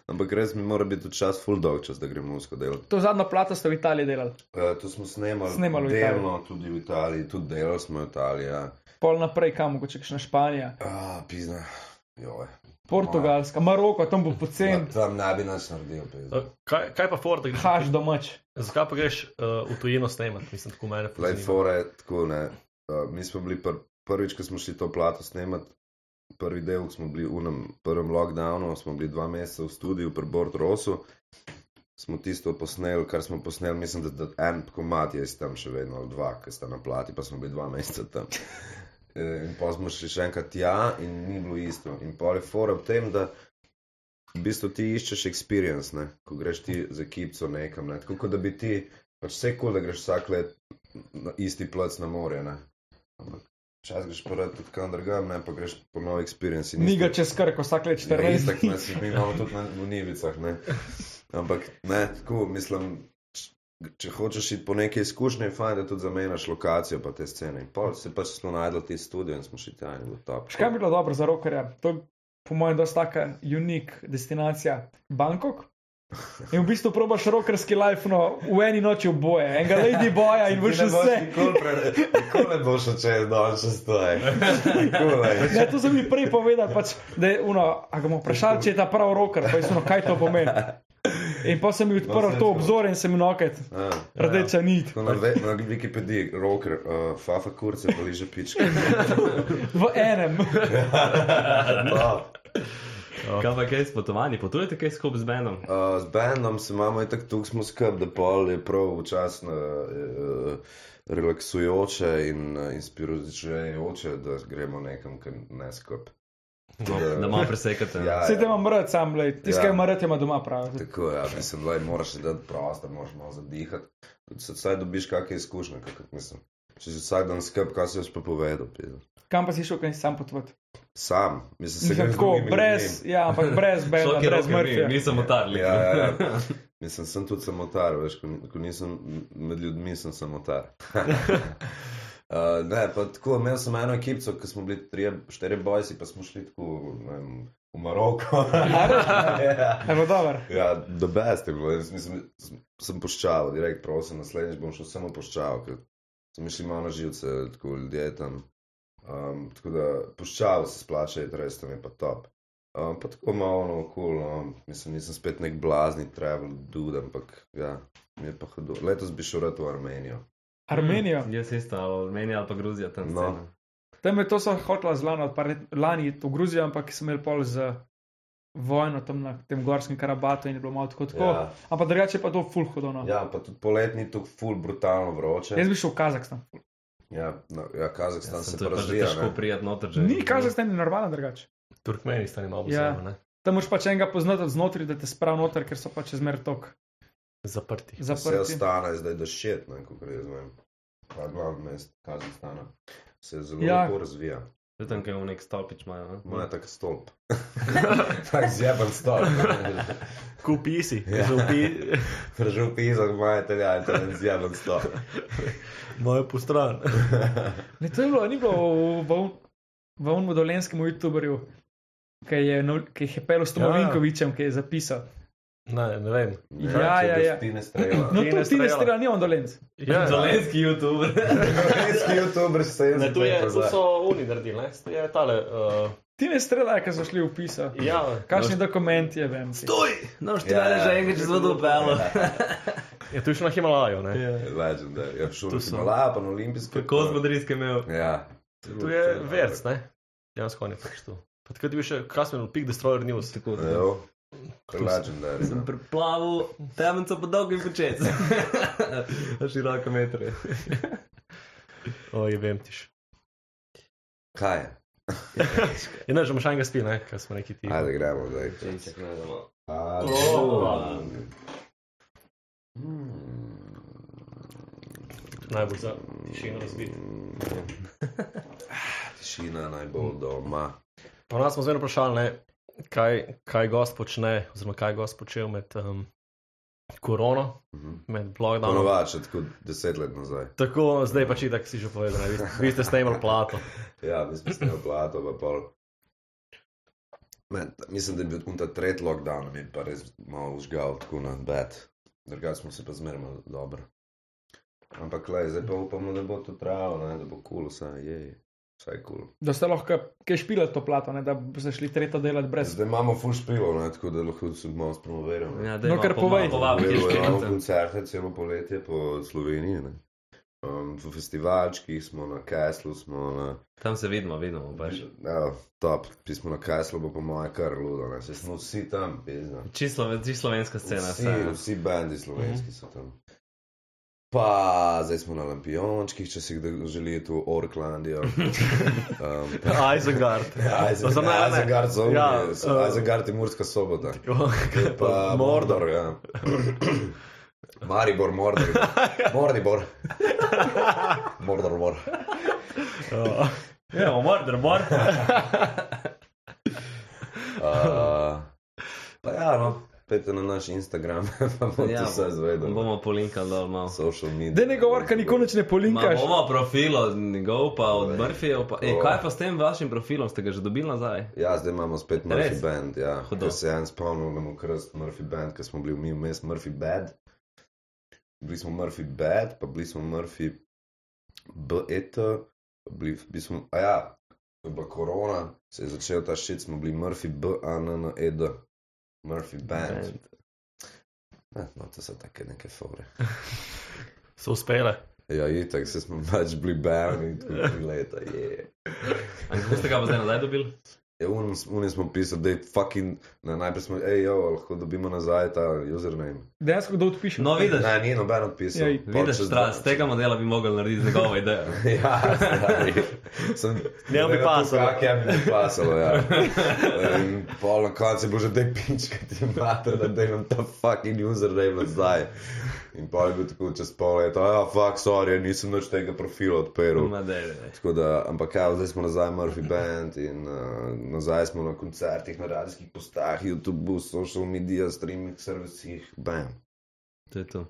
[SPEAKER 4] Ampak res mi mora biti čas, full dolg čas, da grem pomensko delati.
[SPEAKER 6] To zadnjo plato ste v Italiji delali,
[SPEAKER 4] Uh, to smo snemali,
[SPEAKER 6] Snemali v Italiji.
[SPEAKER 4] delno, tudi v Italiji, tudi delali smo v Italiji. Ja.
[SPEAKER 6] pol naprej, kam mogoče še na Španijo,
[SPEAKER 4] Ah, pizna, joje.
[SPEAKER 6] Portugalska, Maroko, tam bo pocen,
[SPEAKER 4] Ma, Tam ne bi nič naredil, pizna.
[SPEAKER 5] Kaj, kaj pa Ford, greš,
[SPEAKER 6] haš domač.
[SPEAKER 5] zakaj pa greš uh, v tujino snemati? Mislim, tako mene
[SPEAKER 4] Lej,
[SPEAKER 5] zanima.
[SPEAKER 4] fora je tako, ne. Uh, mi smo bili pr prvič, ko smo šli to plato snemati, prvi del, ko smo bili v unem prvem lockdownu, smo bili dva meseca v studiu pri Bord Rosu, smo tisto posneli, kar smo posneli, mislim, da, da en komat je iz tam še vedno, ali dva, ki sta na plati, pa smo bili dva meseca tam. Eh, In pa smo šli še enkrat tja in ni bilo isto. In pa je fora v tem, da v bistvu ti iščeš experience, ne? ko greš ti za kipco nekam. Ne? Tako kot da bi ti, pač vse kul, da greš vsak let na isti plac na more. Ne? Ampak čas greš pa rad tudi kam drugam, ne pa greš po nov experience. in
[SPEAKER 6] Ni
[SPEAKER 4] isto-
[SPEAKER 6] ga čez krk, vsak let
[SPEAKER 4] Ja,
[SPEAKER 6] 14.
[SPEAKER 4] Itak nas mi imamo tudi na gonivicah. ne. Ampak ne, tako mislim. č- Če hočeš iti po neki izkušnji, je fajn, da tudi zamenjaš lokacijo pa te scene. In Pol se pač smo najdli ti studio in smo šli tja in je bilo top.
[SPEAKER 6] Še kaj bi bilo dobro za rokerja? To je, po mojem, dosta taka unik destinacija. Bangkok. In v bistvu probaš rokerski life no, v eni noči oboje, enega lady boja in vršiš vse.
[SPEAKER 4] Nikoli pre- nikoli ne boš odšel dol, če stoji. Nikoli.
[SPEAKER 6] Ne, to sem mi prej povedal, pač, da je uno, a ga bomo vprašali, če je ta prav roker, pa je uno, kaj to pomeni. In pa sem jim odprl
[SPEAKER 4] No,
[SPEAKER 6] to
[SPEAKER 4] saj,
[SPEAKER 6] obzorje in sem jim noket,
[SPEAKER 4] Ja.
[SPEAKER 6] rdeča nit.
[SPEAKER 4] Tako na, ve- na Wikipediji, roker, uh, fafa kurce, pa liže pičke.
[SPEAKER 6] V enem.
[SPEAKER 4] Ja. Top.
[SPEAKER 3] Kaj pa kaj s potovanji? Potujete kaj skupaj z menom?
[SPEAKER 4] Uh, z bendom se imamo in tako tukaj smo skrb, da pol je prav včasno uh, relaksujoče in uh, inspirirajoče, da gremo nekam, kar ne skrb.
[SPEAKER 3] No, da malo presekate. ne?
[SPEAKER 4] Ja,
[SPEAKER 6] Vse te
[SPEAKER 4] ja,
[SPEAKER 6] imam rad sam, lej, tiskaj
[SPEAKER 4] Ja.
[SPEAKER 6] ima rad, ima doma prav.
[SPEAKER 4] tako ja, mislim, da moraš še dati prostor, moraš malo zadihati. Tudi Se vsaj dobiš kakšne izkušnje, kakak, mislim. Če si vsak dan skrb, kaj si jaz pa povedal. pizda.
[SPEAKER 6] Kam pa si šel, kaj si sam potvud?
[SPEAKER 4] Sam, mislim, se grem
[SPEAKER 6] Mislim,
[SPEAKER 4] z
[SPEAKER 6] tako,
[SPEAKER 4] drugimi
[SPEAKER 6] brez, ja, ampak brez benda,
[SPEAKER 3] Šok je
[SPEAKER 6] brez
[SPEAKER 3] roko, mi,
[SPEAKER 6] mrtve.
[SPEAKER 3] mi smo tarli.
[SPEAKER 4] Ja, ja, ja. Mislim, sem tudi samotar, veš, ko, ko nisem med ljudmi, sem samotar. uh, ne, pa tako, imel sem eno ekipo, ko smo bili tri, štiri bojci, pa smo šli tako ne vem, v Maroko. ja,
[SPEAKER 6] Evo, dober.
[SPEAKER 4] ja do beste, mislim, sem poščal, direkt prosim, naslednjič bom šel samo poščal, ker sem šli malo na živce, tako ljudje tam. Um, tako da poščal se splača, res tam je pa top. Um, pa tako malo na okol, no. mislim, nisem spet nek blazni travel dude, ampak ja, mi je pa hudo. Letos bi šel rad v Armenijo.
[SPEAKER 6] Armenijo.
[SPEAKER 4] Mm.
[SPEAKER 3] Jaz isto, ali Armenija ali pa Gruzija tam.
[SPEAKER 4] No.
[SPEAKER 3] scena.
[SPEAKER 6] Tam je to so hotla z lani, od par let- lani iti v Gruzijo, ampak sem imel pol z vojno tam na tem gorskem Karabatu in je bilo malo tako. tako. Ja.
[SPEAKER 4] Ja.
[SPEAKER 6] Ampak drugače pa to ful hodovno.
[SPEAKER 4] ja,
[SPEAKER 6] Ja.
[SPEAKER 4] pa tudi poletni tu ful brutalno vroče.
[SPEAKER 6] Jaz bi šel v Kazahstan.
[SPEAKER 4] Ja, no, ja
[SPEAKER 3] Ja,
[SPEAKER 4] Kazahstan ja, se
[SPEAKER 3] sem to je pač
[SPEAKER 4] razvija.
[SPEAKER 3] težko
[SPEAKER 4] ne.
[SPEAKER 3] prijeti noter. že.
[SPEAKER 6] Ni Kazahstan je normalen drugače.
[SPEAKER 5] Turkmenistan ima
[SPEAKER 6] Ja.
[SPEAKER 5] obzorje, ne?
[SPEAKER 6] Tam moraš pač enega poznati od znotraj, da te spravi noter, ker so pač zmer tok
[SPEAKER 5] Zaprti.
[SPEAKER 4] Vse
[SPEAKER 6] zaprti.
[SPEAKER 4] ostane zdaj da šit, ne, kako jaz vem. Ta glavni mest Kazahstana se zelo
[SPEAKER 6] Ja.
[SPEAKER 4] ja. lepo razvija.
[SPEAKER 3] Zdaj tam, kaj je v nek stolpič imajo. ne?
[SPEAKER 4] Moja tak stolp. tak zjeben stolp.
[SPEAKER 5] Kupi si,
[SPEAKER 4] Ja.
[SPEAKER 5] župi,
[SPEAKER 4] Držal pizak, moja italijana, to je zjeben stolp.
[SPEAKER 5] moje postran.
[SPEAKER 6] Ne, to je bilo, ni bilo v, v, v unmu dolenskemu youtuberju, ki je, nov- ki je hepelo s
[SPEAKER 5] Ja, ja.
[SPEAKER 6] Tomovinkovičem, ki je zapisal.
[SPEAKER 5] Ne, ne vem.
[SPEAKER 6] Ja, ja, ja.
[SPEAKER 4] Tine strela.
[SPEAKER 6] No,
[SPEAKER 5] Ti
[SPEAKER 6] to
[SPEAKER 5] ne
[SPEAKER 6] ti ne
[SPEAKER 5] strela.
[SPEAKER 6] strela, ni on dolenc.
[SPEAKER 5] Ja,
[SPEAKER 3] Dolenski YouTuber.
[SPEAKER 4] Slovenski youtuber se je
[SPEAKER 5] Ne, to, je, to
[SPEAKER 4] zapozna.
[SPEAKER 5] so oni naredili, ne? To je tale. Uh,
[SPEAKER 6] Ti ne strela, ker so šli v pisa.
[SPEAKER 5] ja.
[SPEAKER 6] Kakšen dokument je, vem. Stop!
[SPEAKER 3] No,
[SPEAKER 4] Ja, ja.
[SPEAKER 3] vodo pelo.
[SPEAKER 5] ja, tu je še na Himalajo, ne?
[SPEAKER 4] Legendar, ja, šel
[SPEAKER 5] To
[SPEAKER 4] je
[SPEAKER 5] so-
[SPEAKER 4] Himalaya, pa na olimpijske.
[SPEAKER 3] Kako smo driske imel?
[SPEAKER 4] Ja.
[SPEAKER 5] Tu je verc, ne? Ja, skonje pač tu. Pa takrat je bil še Kasmen, Pig Destroyer News.
[SPEAKER 3] Ja.
[SPEAKER 5] Tako,
[SPEAKER 4] Jo, legendar. ja.
[SPEAKER 3] Priplavu, temenco pa dolgo in počet. Široko metre.
[SPEAKER 5] Oj, vem tiš.
[SPEAKER 4] Kaj je?
[SPEAKER 5] Ja, ne, že imaš enega spil, ne? Kaj smo neki ti.
[SPEAKER 4] Ajde, gremo zdaj. A,
[SPEAKER 5] O.
[SPEAKER 4] Mm.
[SPEAKER 5] Najbolj za tišino razbit.
[SPEAKER 4] Mm, Tišina naj bo doma.
[SPEAKER 5] Pa nas smo zmerno vprašali, ne, kaj, kaj gost počne, oziroma kaj je gost počel med um, korono,
[SPEAKER 4] Mhm.
[SPEAKER 5] med blogdanom.
[SPEAKER 4] Ponovač, tako deset let nazaj.
[SPEAKER 5] Tako, zdaj pač tako si že povedal, ne, vi, vi ste snemali plato.
[SPEAKER 4] Ja, mi smo snimali plato, pa pol. Men, mislim, da je bil ta tretji lockdown, mi je pa res malo užgal tako na bed. Drugače smo se pa zmerno dobro. Ampak le, zdaj pa upamo, da bo to trajalo, ne, da bo kul, cool, vsaj je. Vsaj kul. Cool.
[SPEAKER 6] Da ste lahko kaj špilali to plato, ne, da ste šli tretjo delati brez.
[SPEAKER 4] Zdaj imamo full špivo, ne, tako da lahko se malo spromoviramo.
[SPEAKER 3] Ja, daj,
[SPEAKER 6] No,
[SPEAKER 3] malo
[SPEAKER 6] kar
[SPEAKER 3] po-
[SPEAKER 6] povej.
[SPEAKER 3] malo Povabi, kje
[SPEAKER 4] Bilo je eno
[SPEAKER 3] špilate.
[SPEAKER 4] koncerte celo poletje po Sloveniji. Ne. Um, v festivalčkih smo na Keslu, smo na
[SPEAKER 3] Tam se vidimo, vidimo pač.
[SPEAKER 4] Ja, top, pismo na Kajslu bo po mojem kar ludo, ne, saj smo vsi tam, pizna.
[SPEAKER 3] Čisto slovenska scena.
[SPEAKER 4] Vsi,
[SPEAKER 3] vse, ne.
[SPEAKER 5] Mhm.
[SPEAKER 4] vsi bendi slovenski so tam. Pa zdaj smo na lampiončkih, če si kdo želi tu Orklandijo. Um,
[SPEAKER 5] Isengard. Ja. Za mene ne.
[SPEAKER 4] Azengard
[SPEAKER 5] Ja, eh,
[SPEAKER 4] Azengard je Murska sobota.
[SPEAKER 5] Kaj
[SPEAKER 4] Pa Mordor, ja. Maribor, Mordor. Mordibor. Mordor, mor.
[SPEAKER 5] Ja, Mordor, Mordor.
[SPEAKER 4] Uh, pa ja, no, pejte na naš Instagram, pa boste ja, vse zvedeli.
[SPEAKER 3] Bomo polinkali dol malo.
[SPEAKER 4] Social media.
[SPEAKER 6] Da ne govori, kaj nikoli ne
[SPEAKER 3] Ma
[SPEAKER 6] polinkaš.
[SPEAKER 3] bomo profil od njegov, pa od Murphyjev. Pa... E,
[SPEAKER 4] Oj.
[SPEAKER 3] kaj pa s tem vašim profilom, ste ga že dobili nazaj?
[SPEAKER 4] Ja, zdaj imamo spet Murphy
[SPEAKER 3] Res?
[SPEAKER 4] Band. Ja.
[SPEAKER 3] Hudo.
[SPEAKER 4] Ko se je en spomnil, da mu krst Murphy Band, ker smo bili mi vmes Murphy Bad. Bili smo Murphy Bad, pa bili smo Murphy BET, pa bili, bili smo, a ja, ko je bila korona, se je začel ta šit, smo bili Murphy BANNED, E Murphy Band. Ne, no, to so take neke fore.
[SPEAKER 5] So uspele.
[SPEAKER 4] Ja, itak se smo pač bili bani, tako leta, je. Yeah.
[SPEAKER 3] A Kako ste ga pa zdaj nazaj dobili?
[SPEAKER 4] Ja, unim, unim smo pisali, da je fucking, na, najprej smo, hej, jo, lahko dobimo nazaj ta username.
[SPEAKER 6] Dejansko kdo odpiše.
[SPEAKER 3] No, vidiš,
[SPEAKER 4] Ne, ni noben odpisal.
[SPEAKER 6] Jej.
[SPEAKER 4] Pol
[SPEAKER 3] vidiš
[SPEAKER 4] čez
[SPEAKER 3] stra,
[SPEAKER 4] dva-
[SPEAKER 3] z tega modela bi mogel narediti njegovo idejo.
[SPEAKER 4] Ja, stari. Sem,
[SPEAKER 5] Njemu bi
[SPEAKER 4] glede na to,
[SPEAKER 5] pasalo.
[SPEAKER 4] kako Ja, bi mi pasalo, ja. In pol na koncu je bilo že te pičke, ti mater, da da imam ta fucking username nazaj. In pol je bil tako čez pol leta, ja, fuck, sorry, nisem nič tega profila odprl.
[SPEAKER 3] Ma, daj, daj, daj.
[SPEAKER 4] Tako da, ampak ja, zdaj smo nazaj v Murphy Band in uh, nazaj smo na koncertih, na radijskih postajah, YouTube, social media, streaming servisih, bam.
[SPEAKER 3] To je to.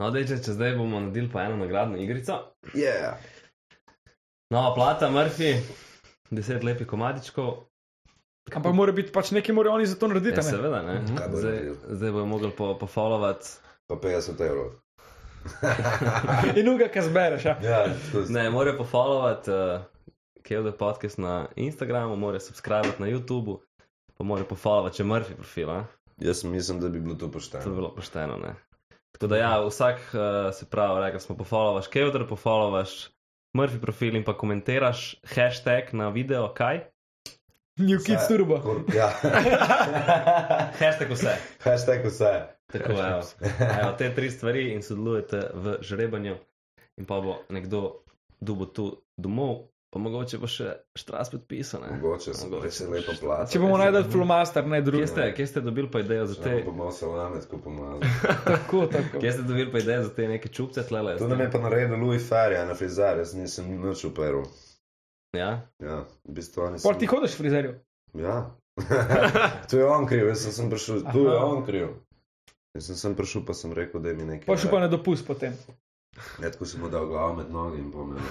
[SPEAKER 3] No, da če, če zdaj bomo naredili pa eno nagradno igrico.
[SPEAKER 4] Yeah.
[SPEAKER 3] Nova plata, Murphy, deset lepih komadičkov.
[SPEAKER 6] Ampak mora biti pač nekaj, morajo oni za to
[SPEAKER 3] Ja,
[SPEAKER 6] narediti. a Ne?
[SPEAKER 3] seveda, ne.
[SPEAKER 4] Kaj bo
[SPEAKER 3] Zdaj,
[SPEAKER 4] naredil?
[SPEAKER 3] zdaj bojo mogli po, pofollowati.
[SPEAKER 4] Pa 50 evrov.
[SPEAKER 6] In uga, kaj zbereš. Ja.
[SPEAKER 4] Ja, to je.
[SPEAKER 3] Ne, morajo pofollowati uh, Kevda podcast na Instagramu, morajo subskrbati na YouTubu, pa morajo pofollowati še Murphy profil. A?
[SPEAKER 4] Jaz mislim, da bi bilo to
[SPEAKER 3] To bi
[SPEAKER 4] pošteno.
[SPEAKER 3] bilo pošteno, ne. Tako da ja, vsak uh, se pravi, rekli smo, pofollowaš Kevdr, pofollowaš Murphy profil in pa komentiraš hashtag na video, kaj?
[SPEAKER 6] New Kids
[SPEAKER 4] Saj-
[SPEAKER 6] Turbo.
[SPEAKER 4] Kor- Ja.
[SPEAKER 3] Hashtag vse.
[SPEAKER 4] Hashtag vse.
[SPEAKER 3] Tako je. Evo, te tri stvari in sodelujete v žrebanju, in pa bo nekdo dubo tu domov, pa mogoče bo še štras podpisan. ne.
[SPEAKER 4] Mogoče se bo res lepo plača.
[SPEAKER 6] Če bomo najdel flomaster, ne drugi.
[SPEAKER 3] Kje ste, kje ste dobili pa idejo za te?
[SPEAKER 4] Te... Bomo salame tako pomazali.
[SPEAKER 6] Tako, tako.
[SPEAKER 3] Kje ste dobili pa idejo za te neke čupce tlele?
[SPEAKER 4] To nam je pa naredil Louis Ferry, na frizar, jaz nisem nič uperil.
[SPEAKER 3] Ja,
[SPEAKER 4] Ja, v bistvu oni
[SPEAKER 6] Pol
[SPEAKER 4] so-
[SPEAKER 6] ti hodiš v frizerju.
[SPEAKER 4] Ja. to je on kriv, jaz sem, sem prišel, tu je
[SPEAKER 6] Aha.
[SPEAKER 4] on kriv. Jaz sem, sem prišel, pa sem rekel, da mi nekaj.
[SPEAKER 6] Pa še
[SPEAKER 4] da.
[SPEAKER 6] pa na dopust potem.
[SPEAKER 4] Ja, tako sem mu dal glavo med noge in pomnil.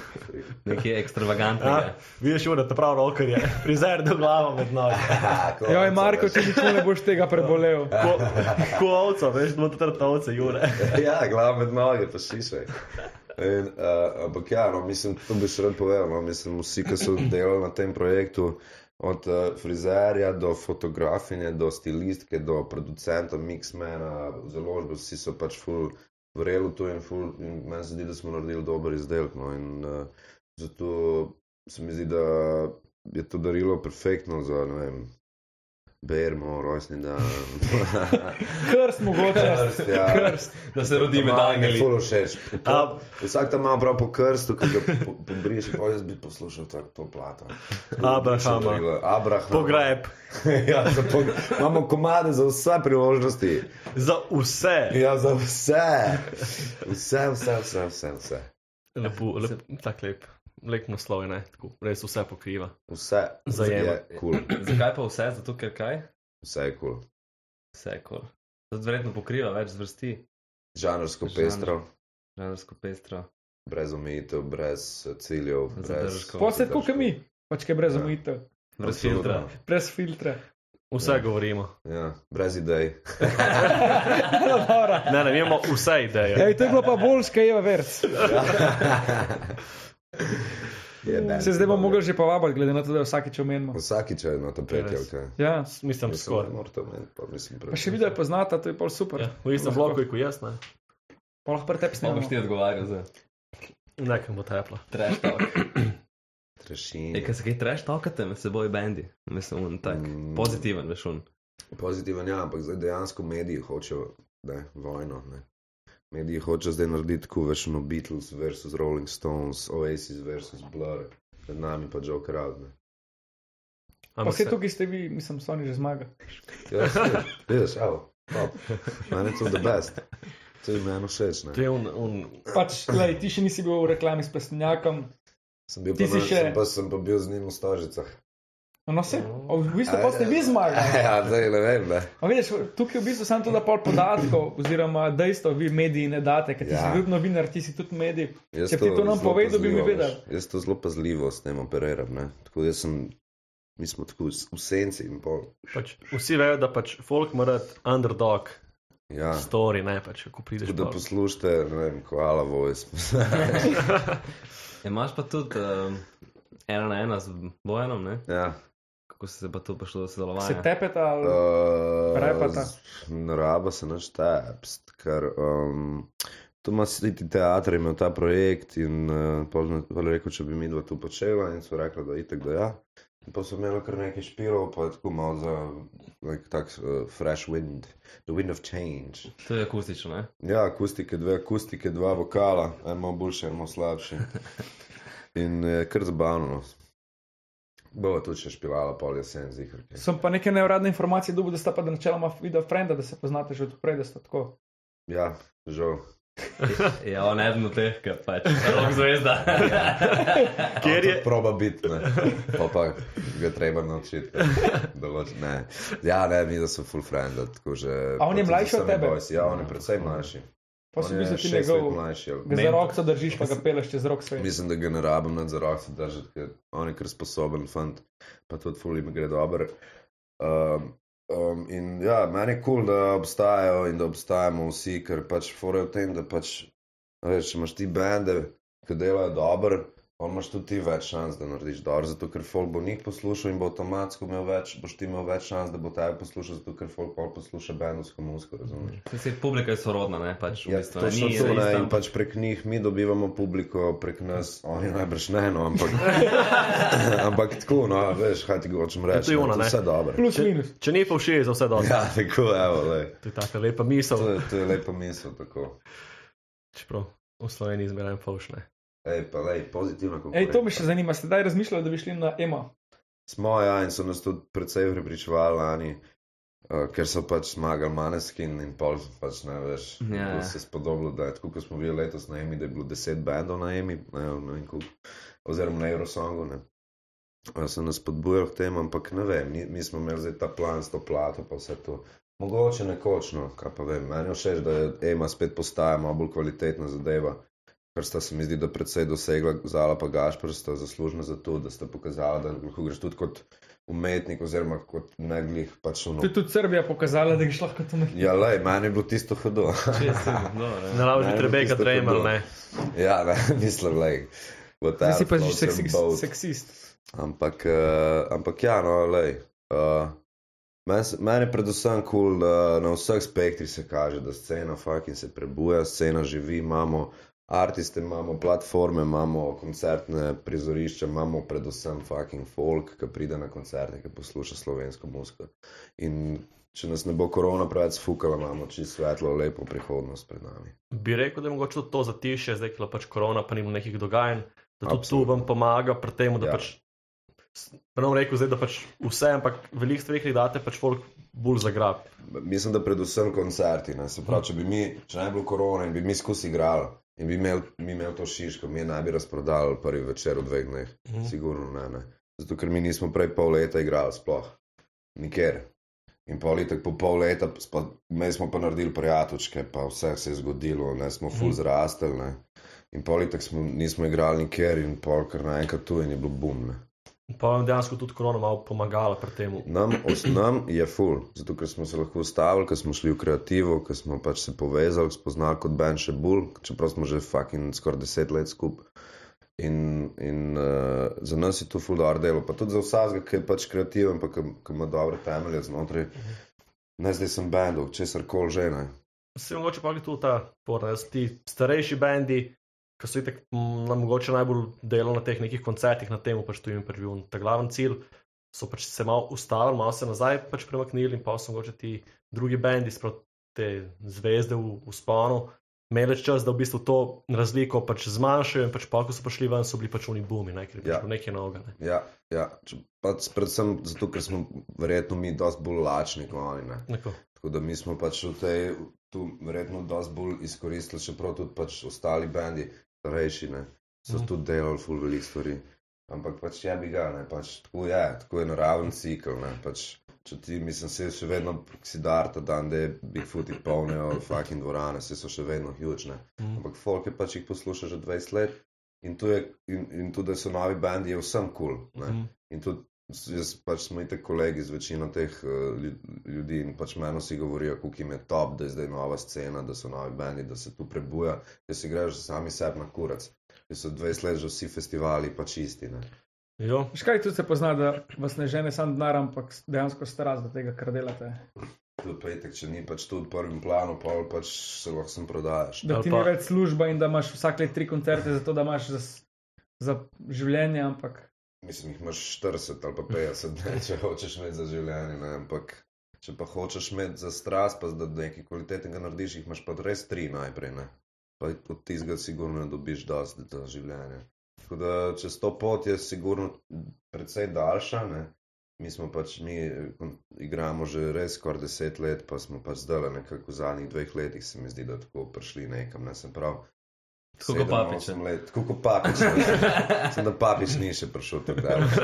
[SPEAKER 3] nekaj ekstravagantnega.
[SPEAKER 5] Vidiš, ura, ta prav roker je. Frizer do glava med noge.
[SPEAKER 4] Ja,
[SPEAKER 6] Joj, Ja, Marko, če nikoli ne boš tega prebolel.
[SPEAKER 5] Ko, ko ovca, veš, no trta ovce, jure.
[SPEAKER 4] ja, glavo med noge, pa šišek. In, uh, ampak ja, no, mislim, to bi še rad povedal. No, mislim, vsi, ki so delali na tem projektu, od uh, frizerja do fotografinje, do stilistke, do producenta, mixmana, založbe, vsi so pač full vrelo to in full. In meni se zdi, da smo naredili dober izdelek. No, in uh, zato se mi zdi, da je to darilo perfektno za, ne vem, Bermo, rojstni dan.
[SPEAKER 6] Krst mogoče.
[SPEAKER 4] Krst, ja.
[SPEAKER 6] Krst.
[SPEAKER 3] Da se rodi
[SPEAKER 4] Medalje mi je
[SPEAKER 3] medalje.
[SPEAKER 4] zelo všeč.
[SPEAKER 5] A-
[SPEAKER 4] Vsak tam ima prav po krstu, ki ga po- pobriši, pa jaz bi poslušal tako to plato.
[SPEAKER 5] Abrahama.
[SPEAKER 4] Abraham.
[SPEAKER 5] Pogreb.
[SPEAKER 4] ja, za pog... Imamo komade za vse priložnosti.
[SPEAKER 5] Za vse.
[SPEAKER 4] Ja, za vse. Vse, vse, vse, vse. Vse.
[SPEAKER 5] Lepo, lep, tak lep. Lep naslov je, ne, tako. Res vse pokriva.
[SPEAKER 4] vse
[SPEAKER 5] Zajema.
[SPEAKER 4] je kul. Cool.
[SPEAKER 3] Zakaj pa vse? Zato ker kaj?
[SPEAKER 4] Vse je kul. Cool.
[SPEAKER 3] Vse je kol. To verjetno pokriva več zvrsti,
[SPEAKER 4] Žanrsko
[SPEAKER 3] Žanr.
[SPEAKER 4] pestro,
[SPEAKER 3] žanrsko pestro.
[SPEAKER 4] brez omejitev, brez eh, ciljev. Brez...
[SPEAKER 3] Zadržkov.
[SPEAKER 6] Pa se tako, kot mi. Pač kaj brez omejitev.
[SPEAKER 3] Brez
[SPEAKER 4] Absolutno.
[SPEAKER 3] filtra.
[SPEAKER 6] Brez filtra.
[SPEAKER 5] Vse govorimo.
[SPEAKER 4] Ja, brez idej.
[SPEAKER 6] No, dobro.
[SPEAKER 5] Ne, ne, mi imamo vse ideje.
[SPEAKER 6] Ej, to je bilo pa bolj skajeva verc.
[SPEAKER 4] Je, Ja, ne,
[SPEAKER 6] Se zdaj bo mogel že povabiti, glede na to, da jo vsakič omenimo.
[SPEAKER 4] Vsakič je ena ta petja,
[SPEAKER 5] Res.
[SPEAKER 4] kaj.
[SPEAKER 6] Ja.
[SPEAKER 5] Mislim, skoraj.
[SPEAKER 4] Morate meni, pa mislim,
[SPEAKER 6] Pa
[SPEAKER 4] pred...
[SPEAKER 6] še videl poznata, to je pol super.
[SPEAKER 5] Ja, v istem bloku je kot jaz, ne.
[SPEAKER 6] Pa lahko pretep
[SPEAKER 3] Pa boš
[SPEAKER 6] snemamo.
[SPEAKER 3] ti odgovarjal za
[SPEAKER 5] Nekam bo tepla.
[SPEAKER 3] trash talk. E,
[SPEAKER 4] Trešin.
[SPEAKER 3] kaj se kaj trash talkate med seboj bendi? Mislim, on tak.
[SPEAKER 4] Mm.
[SPEAKER 3] Pozitiven, veš on.
[SPEAKER 4] Pozitiven, ja, ampak zdaj dejansko mediji hočejo ne, vojno. Ne. Mediji hoče zdaj narediti tako več no Beatles versus Rolling Stones, Oasis versus Blur, med nami pa Joe Crowd.
[SPEAKER 6] Pa
[SPEAKER 5] Ampak
[SPEAKER 6] vse
[SPEAKER 5] se,
[SPEAKER 6] tukaj ste vi, mislim, so oni že zmagali.
[SPEAKER 4] Ja, saj, vidiš, avo, top. Meni je to the best. To je meni všeč,
[SPEAKER 5] to
[SPEAKER 4] ne.
[SPEAKER 5] je un, un,
[SPEAKER 6] Pač, lej, ti še nisi bil v reklami s plesnjakom,
[SPEAKER 4] Sem bil
[SPEAKER 6] Ti
[SPEAKER 4] pa,
[SPEAKER 6] si
[SPEAKER 4] na,
[SPEAKER 6] še-
[SPEAKER 4] sem pa, sem pa bil z njim v stožicah.
[SPEAKER 6] no vse, v bistvu pa ste vi zmagali.
[SPEAKER 4] Ja, zdaj ne vem, ne.
[SPEAKER 6] A vidiš, tukaj je v bistvu samo to, da pol podatkov oziroma dejstev vi mediji ne date, ker ti ja.
[SPEAKER 4] Ja.
[SPEAKER 6] si tudi novinar, ti si tudi medij.
[SPEAKER 4] Jaz
[SPEAKER 6] Če bi to nam
[SPEAKER 4] zelo
[SPEAKER 6] povedal, bi mi
[SPEAKER 4] pazljivo,
[SPEAKER 6] vedel.
[SPEAKER 4] veš. Jaz to zelo pazljivo s tem operiram. Ne? Tako jaz sem, mi smo tako v v senci in pol.
[SPEAKER 5] pač, vsi vejo, da pač folk mora biti underdog
[SPEAKER 4] Ja.
[SPEAKER 5] story, ne pač, ko prideš
[SPEAKER 4] Tako da
[SPEAKER 5] pol.
[SPEAKER 4] poslušate, ne vem, koala voice.
[SPEAKER 3] E, imaš pa tudi um, ena na ena z Bojanom, ne?
[SPEAKER 4] ja.
[SPEAKER 3] Kako si se pa tu prišlo do
[SPEAKER 6] Se
[SPEAKER 3] sodelovanja?
[SPEAKER 6] tepeta ali
[SPEAKER 4] Uh,
[SPEAKER 6] Rapata.
[SPEAKER 4] z- ne Raba se naš taps, ker um, Tomas City teater je imel ta projekt in uh, pozno je rekel, če bi mi dva tu počela in so rekli, da itek da ja. In pa so imeli kar nekaj špilov, pa je tako malo za like, tak uh, fresh wind, the wind of change.
[SPEAKER 3] To je akustično, ne?
[SPEAKER 4] Ja, akustike, dve akustike, dva vokala, eno boljše, eno slabše. In je kar zabavno. no. Bova tudi še špilala pol jesen zihrke.
[SPEAKER 6] sem pa neke neuradne informacije dobil, da sta pa da načeloma videl frenda, da se poznate že od prej, da sta tako.
[SPEAKER 4] Ja, žal.
[SPEAKER 3] Ja, on je eden od teh, ki pač. Rok zvezda.
[SPEAKER 4] Ker je proba biti, ne. Pa, pa ga treba naučiti. Določ, ne. Ja, ne, mi da so full friend, tako že.
[SPEAKER 6] A on je
[SPEAKER 4] kot
[SPEAKER 6] mlajši
[SPEAKER 4] za
[SPEAKER 6] od
[SPEAKER 4] same
[SPEAKER 6] tebe?
[SPEAKER 4] Boys. Ja, on je precej mlajši.
[SPEAKER 6] Pa si
[SPEAKER 4] On
[SPEAKER 6] v
[SPEAKER 4] je
[SPEAKER 6] bistvu ti
[SPEAKER 4] šest let
[SPEAKER 6] njegov,
[SPEAKER 4] mlajši. ali-
[SPEAKER 6] ga za roko držiš, pa ga peleš čez rok svet.
[SPEAKER 4] Mislim, da ga ne rabim nad zarovci držati, ker on je kar sposoben fant, pa tudi fully mi gre dober. Um, um, in ja, meni je kul, cool, da obstajajo in da obstajamo vsi, ker pač fore v tem, da pač, a veš, če imaš ti bende, ki delajo dober, pa imaš tudi ti več šans, da narediš dobro, zato ker folk bo njih poslušal in bo avtomatsko imel več, boš ti imel več šans, da bo tebe poslušal, zato ker folk pol posluša bendovsko muziko, razumeš?
[SPEAKER 3] Se publika je sorodna, ne? Pač, v
[SPEAKER 4] Ja,
[SPEAKER 3] bistvu, ne,
[SPEAKER 4] točno
[SPEAKER 3] ni
[SPEAKER 4] to, ne,
[SPEAKER 3] ista,
[SPEAKER 4] in pač prek njih mi dobivamo publiko, prek nas oni najbrž ne, no, ampak, ampak tako, no, veš, kaj ti hočem reči,
[SPEAKER 5] To je ono,
[SPEAKER 4] ne, to
[SPEAKER 5] ne.
[SPEAKER 4] je vse dobro.
[SPEAKER 6] Plus minus.
[SPEAKER 5] Če ne pa všeč, za vse dobro. Ja.
[SPEAKER 4] Ja, tako, evo, lej.
[SPEAKER 5] To je tako lepa
[SPEAKER 4] To
[SPEAKER 5] misel,
[SPEAKER 4] je, to je lepa misel, tako.
[SPEAKER 5] čeprav v Sloveniji zmeraj povšne.
[SPEAKER 4] Ej, pa lej, pozitivna
[SPEAKER 6] Ej,
[SPEAKER 4] konkurenca.
[SPEAKER 6] to me še zanima, ste kdaj razmišljali, da bi šli na emo?
[SPEAKER 4] Smo, ja, in so nas tudi precej prepričevali lani, uh, ker so pač zmagali Maneskin in pol, pač ne veš,
[SPEAKER 3] Ja,
[SPEAKER 4] bilo
[SPEAKER 3] ja.
[SPEAKER 4] se spodobilo, da je tako, kot smo bili letos na Emi, da je bilo deset bendov na Emi, ne, ne vem koliko, oziroma na Eurosongu, ne. Ja, so nas podbujali k temu, ampak ne vem, mi, mi smo imeli zdaj ta plan s to plato, pa vse to. Mogoče nekočno, kaj pa vem, meni je všeč, da je Ema spet postaja malo bolj kvalitetna zadeva kar sta se mi zdi, da predvsej dosegla Zala pa Gašpr, sta zaslužna za to, da sta pokazala, da lahko greš tudi kot umetnik oziroma kot neglih pač ono.
[SPEAKER 6] To je tudi Srbija pokazala, da greš lahko tam.
[SPEAKER 4] Ja, lej, meni je bilo tisto hudo.
[SPEAKER 3] no,
[SPEAKER 5] Ne
[SPEAKER 4] Ne,
[SPEAKER 5] rabim
[SPEAKER 4] ne,
[SPEAKER 5] trebeka
[SPEAKER 4] tisto, ko
[SPEAKER 5] tremal,
[SPEAKER 4] bilo.
[SPEAKER 5] ne.
[SPEAKER 4] ja, ne, mislim, lej.
[SPEAKER 6] Ti si pa že seksist. seksist.
[SPEAKER 4] Ampak, uh, ampak ja, no, lej. Uh, Meni se- meni je predvsem kul, cool, da na vseh spektrih se kaže, da scena fucking se prebuja, scena živi, imamo artiste, imamo platforme, imamo koncertne prizorišča, imamo predvsem fucking folk, ki pride na koncerte, ki posluša slovensko muziko. In če nas ne bo korona preveč fukala, imamo čisto svetlo, lepo prihodnost pred nami.
[SPEAKER 5] Bi rekel, da je mogoče tudi to zatišje, zdaj ko je pač korona, pa ni bilo nekih dogajanj, da tudi tu
[SPEAKER 4] Absolutno.
[SPEAKER 5] vam pomaga pri tem, da ja.
[SPEAKER 4] Ja.
[SPEAKER 5] pač. Ne bom rekel, zdaj, da pač vse, ampak veliko stvari, ki jih date, pač folk bolj zagrab.
[SPEAKER 4] Mislim, da predvsem koncerti. Ne? Se pravi, če bi mi, če ne bi bilo korona in bi mi skusi igrali in bi imel, mi imel to šiško, mi je naj bi razprodali prvi večer v dveh dneh.
[SPEAKER 5] Mhm.
[SPEAKER 4] Sigurno ne, ne. Zato, ker mi nismo prej pol leta igrali sploh. Nikjer. In pol leta, po pol leta, pa, mi smo pa naredili prijateljčke, pa vse se je zgodilo, ne smo ful zrastli. Ne? In pol leta smo, nismo igrali nikjer in pol kar naenkrat tu in je bilo bumne.
[SPEAKER 5] Pa vam dejansko tudi korona malo pomagala pri tem.
[SPEAKER 4] Nam, os, nam je ful, zato ker smo se lahko ustavili, ker smo šli v kreativo, ker smo pač se povezali, spoznali kot Ben še bolj, čeprav smo že fucking skoraj deset let skupaj. In, in uh, za nas je to ful dobro delo, pa tudi za vsakega, ki je pač kreativen, pa ki ki ima dobre temelje znotraj. Ne, zdaj sem bendov, česar koli že ne.
[SPEAKER 5] Se mogoče pa je tudi ta porna, da so ti starejši bendi, ki so itek m, nam mogoče najbolj delali na teh nekih koncertih, na tem pač tu jim je pač bil ta glavni cilj. So pač se malo ustavili, malo se nazaj pač premaknili in pa so mogoče ti drugi bendi, sproti te zvezde v, v sponu, imeli več čas, da v bistvu to razliko pač zmanjšajo in pač pa, ko so prišli ven, so bili pač oni bumi, ne, ker je pač
[SPEAKER 4] Ja.
[SPEAKER 5] ja. nekaj novega. Ne.
[SPEAKER 4] Ja, ja. Če, pač predvsem zato, ker smo verjetno mi dosti bolj lačni kot oni. Ne?
[SPEAKER 5] Tako.
[SPEAKER 4] Tako da mi smo pač v tej, tu verjetno dosti bolj izkoristili, čeprav tudi pač ostali bendi, starejši, ne, so
[SPEAKER 5] Mhm.
[SPEAKER 4] mm. tudi delali ful velik stvari. Ampak pač je bi ga, ne, pač tako je, tako je naraven cikl, ne, pač če ti, mislim, se še vedno sidarta dan, da je Bigfooti polnijo fucking dvorane, se so še vedno huge, ne.
[SPEAKER 5] Mhm.
[SPEAKER 4] Ampak folk je pač jih poslušal že 20 let in to je, in, in tudi, da so novi bendi, je vsem kul, cool, ne. Mm.
[SPEAKER 5] Mhm.
[SPEAKER 4] In tudi jaz pač smo itek kolegi z večino teh eh, lju- ljudi in pač meni vsi govorijo, kako jim je top, da je zdaj nova scena, da so novi bendi, da se tu prebuja, da se igrajo že sami sebi na kurac. Da so 20 let že vsi festivali pač isti. Ne?
[SPEAKER 5] Jo,
[SPEAKER 6] Škaj tudi se pozna, da vas ne žene sam denar, ampak dejansko strast do tega, kar delate.
[SPEAKER 4] Tudi pa itek, če ni pač tu v prvem planu, pa pač se lahko sem prodajaš.
[SPEAKER 6] Da
[SPEAKER 5] Ali
[SPEAKER 6] ti
[SPEAKER 5] pa-
[SPEAKER 6] ni več služba in da imaš vsak let tri koncerte, zato da imaš za, s- za življenje, ampak
[SPEAKER 4] Mislim, jih imaš 40 ali pa 50, ne, če hočeš imeti za življenje. Ne, ampak če pa hočeš imeti za strast, pa da nekaj kvalitetnega narediš, jih imaš pa res tri najprej. Ne. Pa od tistega sigurno ne dobiš dosti za življenje. Tako da čez to pot je sigurno precej daljša. Ne. Mi smo pač, mi eh, kon- igramo že res skoraj deset let, pa smo pač zdaj nekako v zadnjih dveh letih, se mi zdi, da tako prišli nekam, ne sem prav.
[SPEAKER 3] Tako kot
[SPEAKER 4] sedem,
[SPEAKER 3] Papič,
[SPEAKER 4] osem
[SPEAKER 3] ne?
[SPEAKER 4] let, Tako kot papič. ne. Sem da papič ni še prišel tako daleč.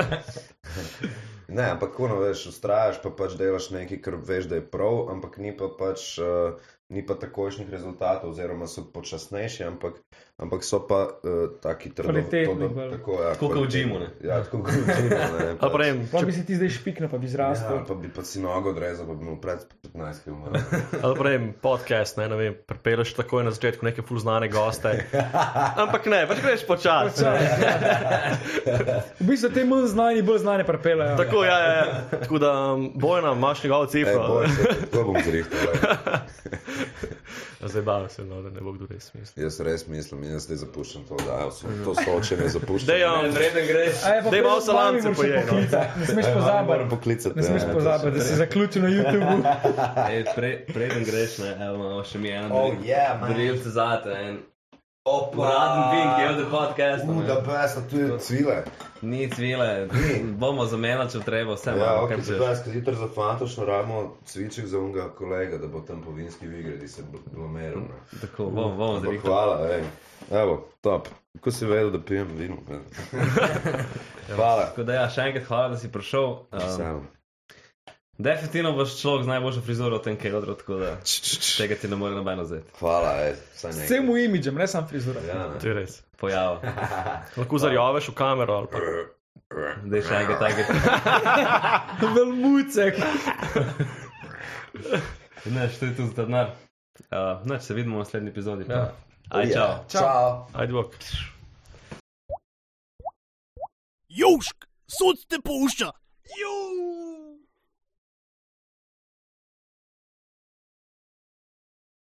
[SPEAKER 4] Ne, ampak kuno veš, ustrajaš pa pač delaš nekaj, kar veš, da je prav, ampak ni pa pač, uh, ni pa takošnjih rezultatov, oziroma so počasnejši, ampak, ampak so pa uh, taki trdo,
[SPEAKER 6] Kvalitetni
[SPEAKER 4] to, da-
[SPEAKER 6] bolj.
[SPEAKER 4] tako, ja,
[SPEAKER 3] Tako kot v gymu, ne.
[SPEAKER 4] Ja, tako kot v džimu, ne. pač.
[SPEAKER 5] ali pa ne vem,
[SPEAKER 6] pa
[SPEAKER 5] če-
[SPEAKER 6] bi se ti zdaj špiknil, pa bi
[SPEAKER 4] Ja,
[SPEAKER 6] zrastel.
[SPEAKER 4] pa bi pa si nogo odrezal, pa bi mu pred 15 km.
[SPEAKER 5] Ali pa rečem podcast, ne, ne vem, pripeleš takoj na začetku neke fulznane goste. Ampak ne, pač greš počasi.
[SPEAKER 6] Ja, ja. V bistvu te manj znani, bolj znani prepelajo.
[SPEAKER 5] Tako, ja, ja, ja. Tako da um, bojna, imaš njegovo
[SPEAKER 4] Ej,
[SPEAKER 5] cifro.
[SPEAKER 4] boj se, tako bom zrihtal. ej.
[SPEAKER 5] Zdaj bavam se, no, da ne bo kdo res mislil.
[SPEAKER 4] Jaz res mislim, jaz zdaj zapuščam to, da to soočenje zapuščam.
[SPEAKER 5] Dejam, reden greš. Dej malo salance pojej. No.
[SPEAKER 6] Ne smeš
[SPEAKER 4] Ja, moram
[SPEAKER 6] pozabiti.
[SPEAKER 4] poklicati.
[SPEAKER 6] Ne smeš
[SPEAKER 4] ja,
[SPEAKER 6] pozabiti, da si zaključil na YouTubu.
[SPEAKER 3] Ej, pre, preden greš, ne, evo, imamo še mi eno
[SPEAKER 4] Oh,
[SPEAKER 3] dril-
[SPEAKER 4] yeah, man.
[SPEAKER 3] drillce zate, en
[SPEAKER 4] Opa!
[SPEAKER 3] uraden vink, je od podcasta.
[SPEAKER 4] U,
[SPEAKER 3] ne.
[SPEAKER 4] da besta, tu je cvile.
[SPEAKER 3] Ni cvile, bomo zamenjali, če treba, vse
[SPEAKER 4] Ja,
[SPEAKER 3] imamo,
[SPEAKER 4] ok,
[SPEAKER 3] kaj
[SPEAKER 4] se
[SPEAKER 3] že.
[SPEAKER 4] pravi, skazitr za fantošno ramo cviček za unga kolega, da bo tam po vinski v igri, da se bl- blamiral. ne.
[SPEAKER 3] Tako, bomo, bomo
[SPEAKER 4] Ampak
[SPEAKER 3] zrihtali.
[SPEAKER 4] Hvala, ej. Evo, top. Kako si vedel, da pijem vino? ne? Hvala.
[SPEAKER 3] Tako da ja, še enkrat hvala, da si prišel. Um,
[SPEAKER 4] Sam.
[SPEAKER 3] definitivno boš človek z najboljšo frizuro v tem keldru, tako da tega ti ne more nobeno zdaj.
[SPEAKER 4] Hvala, ej. Vsaj
[SPEAKER 6] S
[SPEAKER 4] nekaj.
[SPEAKER 6] Vsem imidžem, ne samo frizura.
[SPEAKER 4] Ja, ne.
[SPEAKER 5] To je res.
[SPEAKER 3] Pojavo.
[SPEAKER 5] Lahko zarjoveš v kamero ali pa.
[SPEAKER 3] Dej še enkrat tako.
[SPEAKER 6] Velmucek.
[SPEAKER 3] Ne, što je tu za denar. Uh, Noč se vidimo v naslednji epizodi. pa.
[SPEAKER 5] Ja.
[SPEAKER 4] Oh,
[SPEAKER 3] Aj, čau. Yeah.
[SPEAKER 4] Čau.
[SPEAKER 5] Ajde, bok.
[SPEAKER 1] Južk, sunce pušča,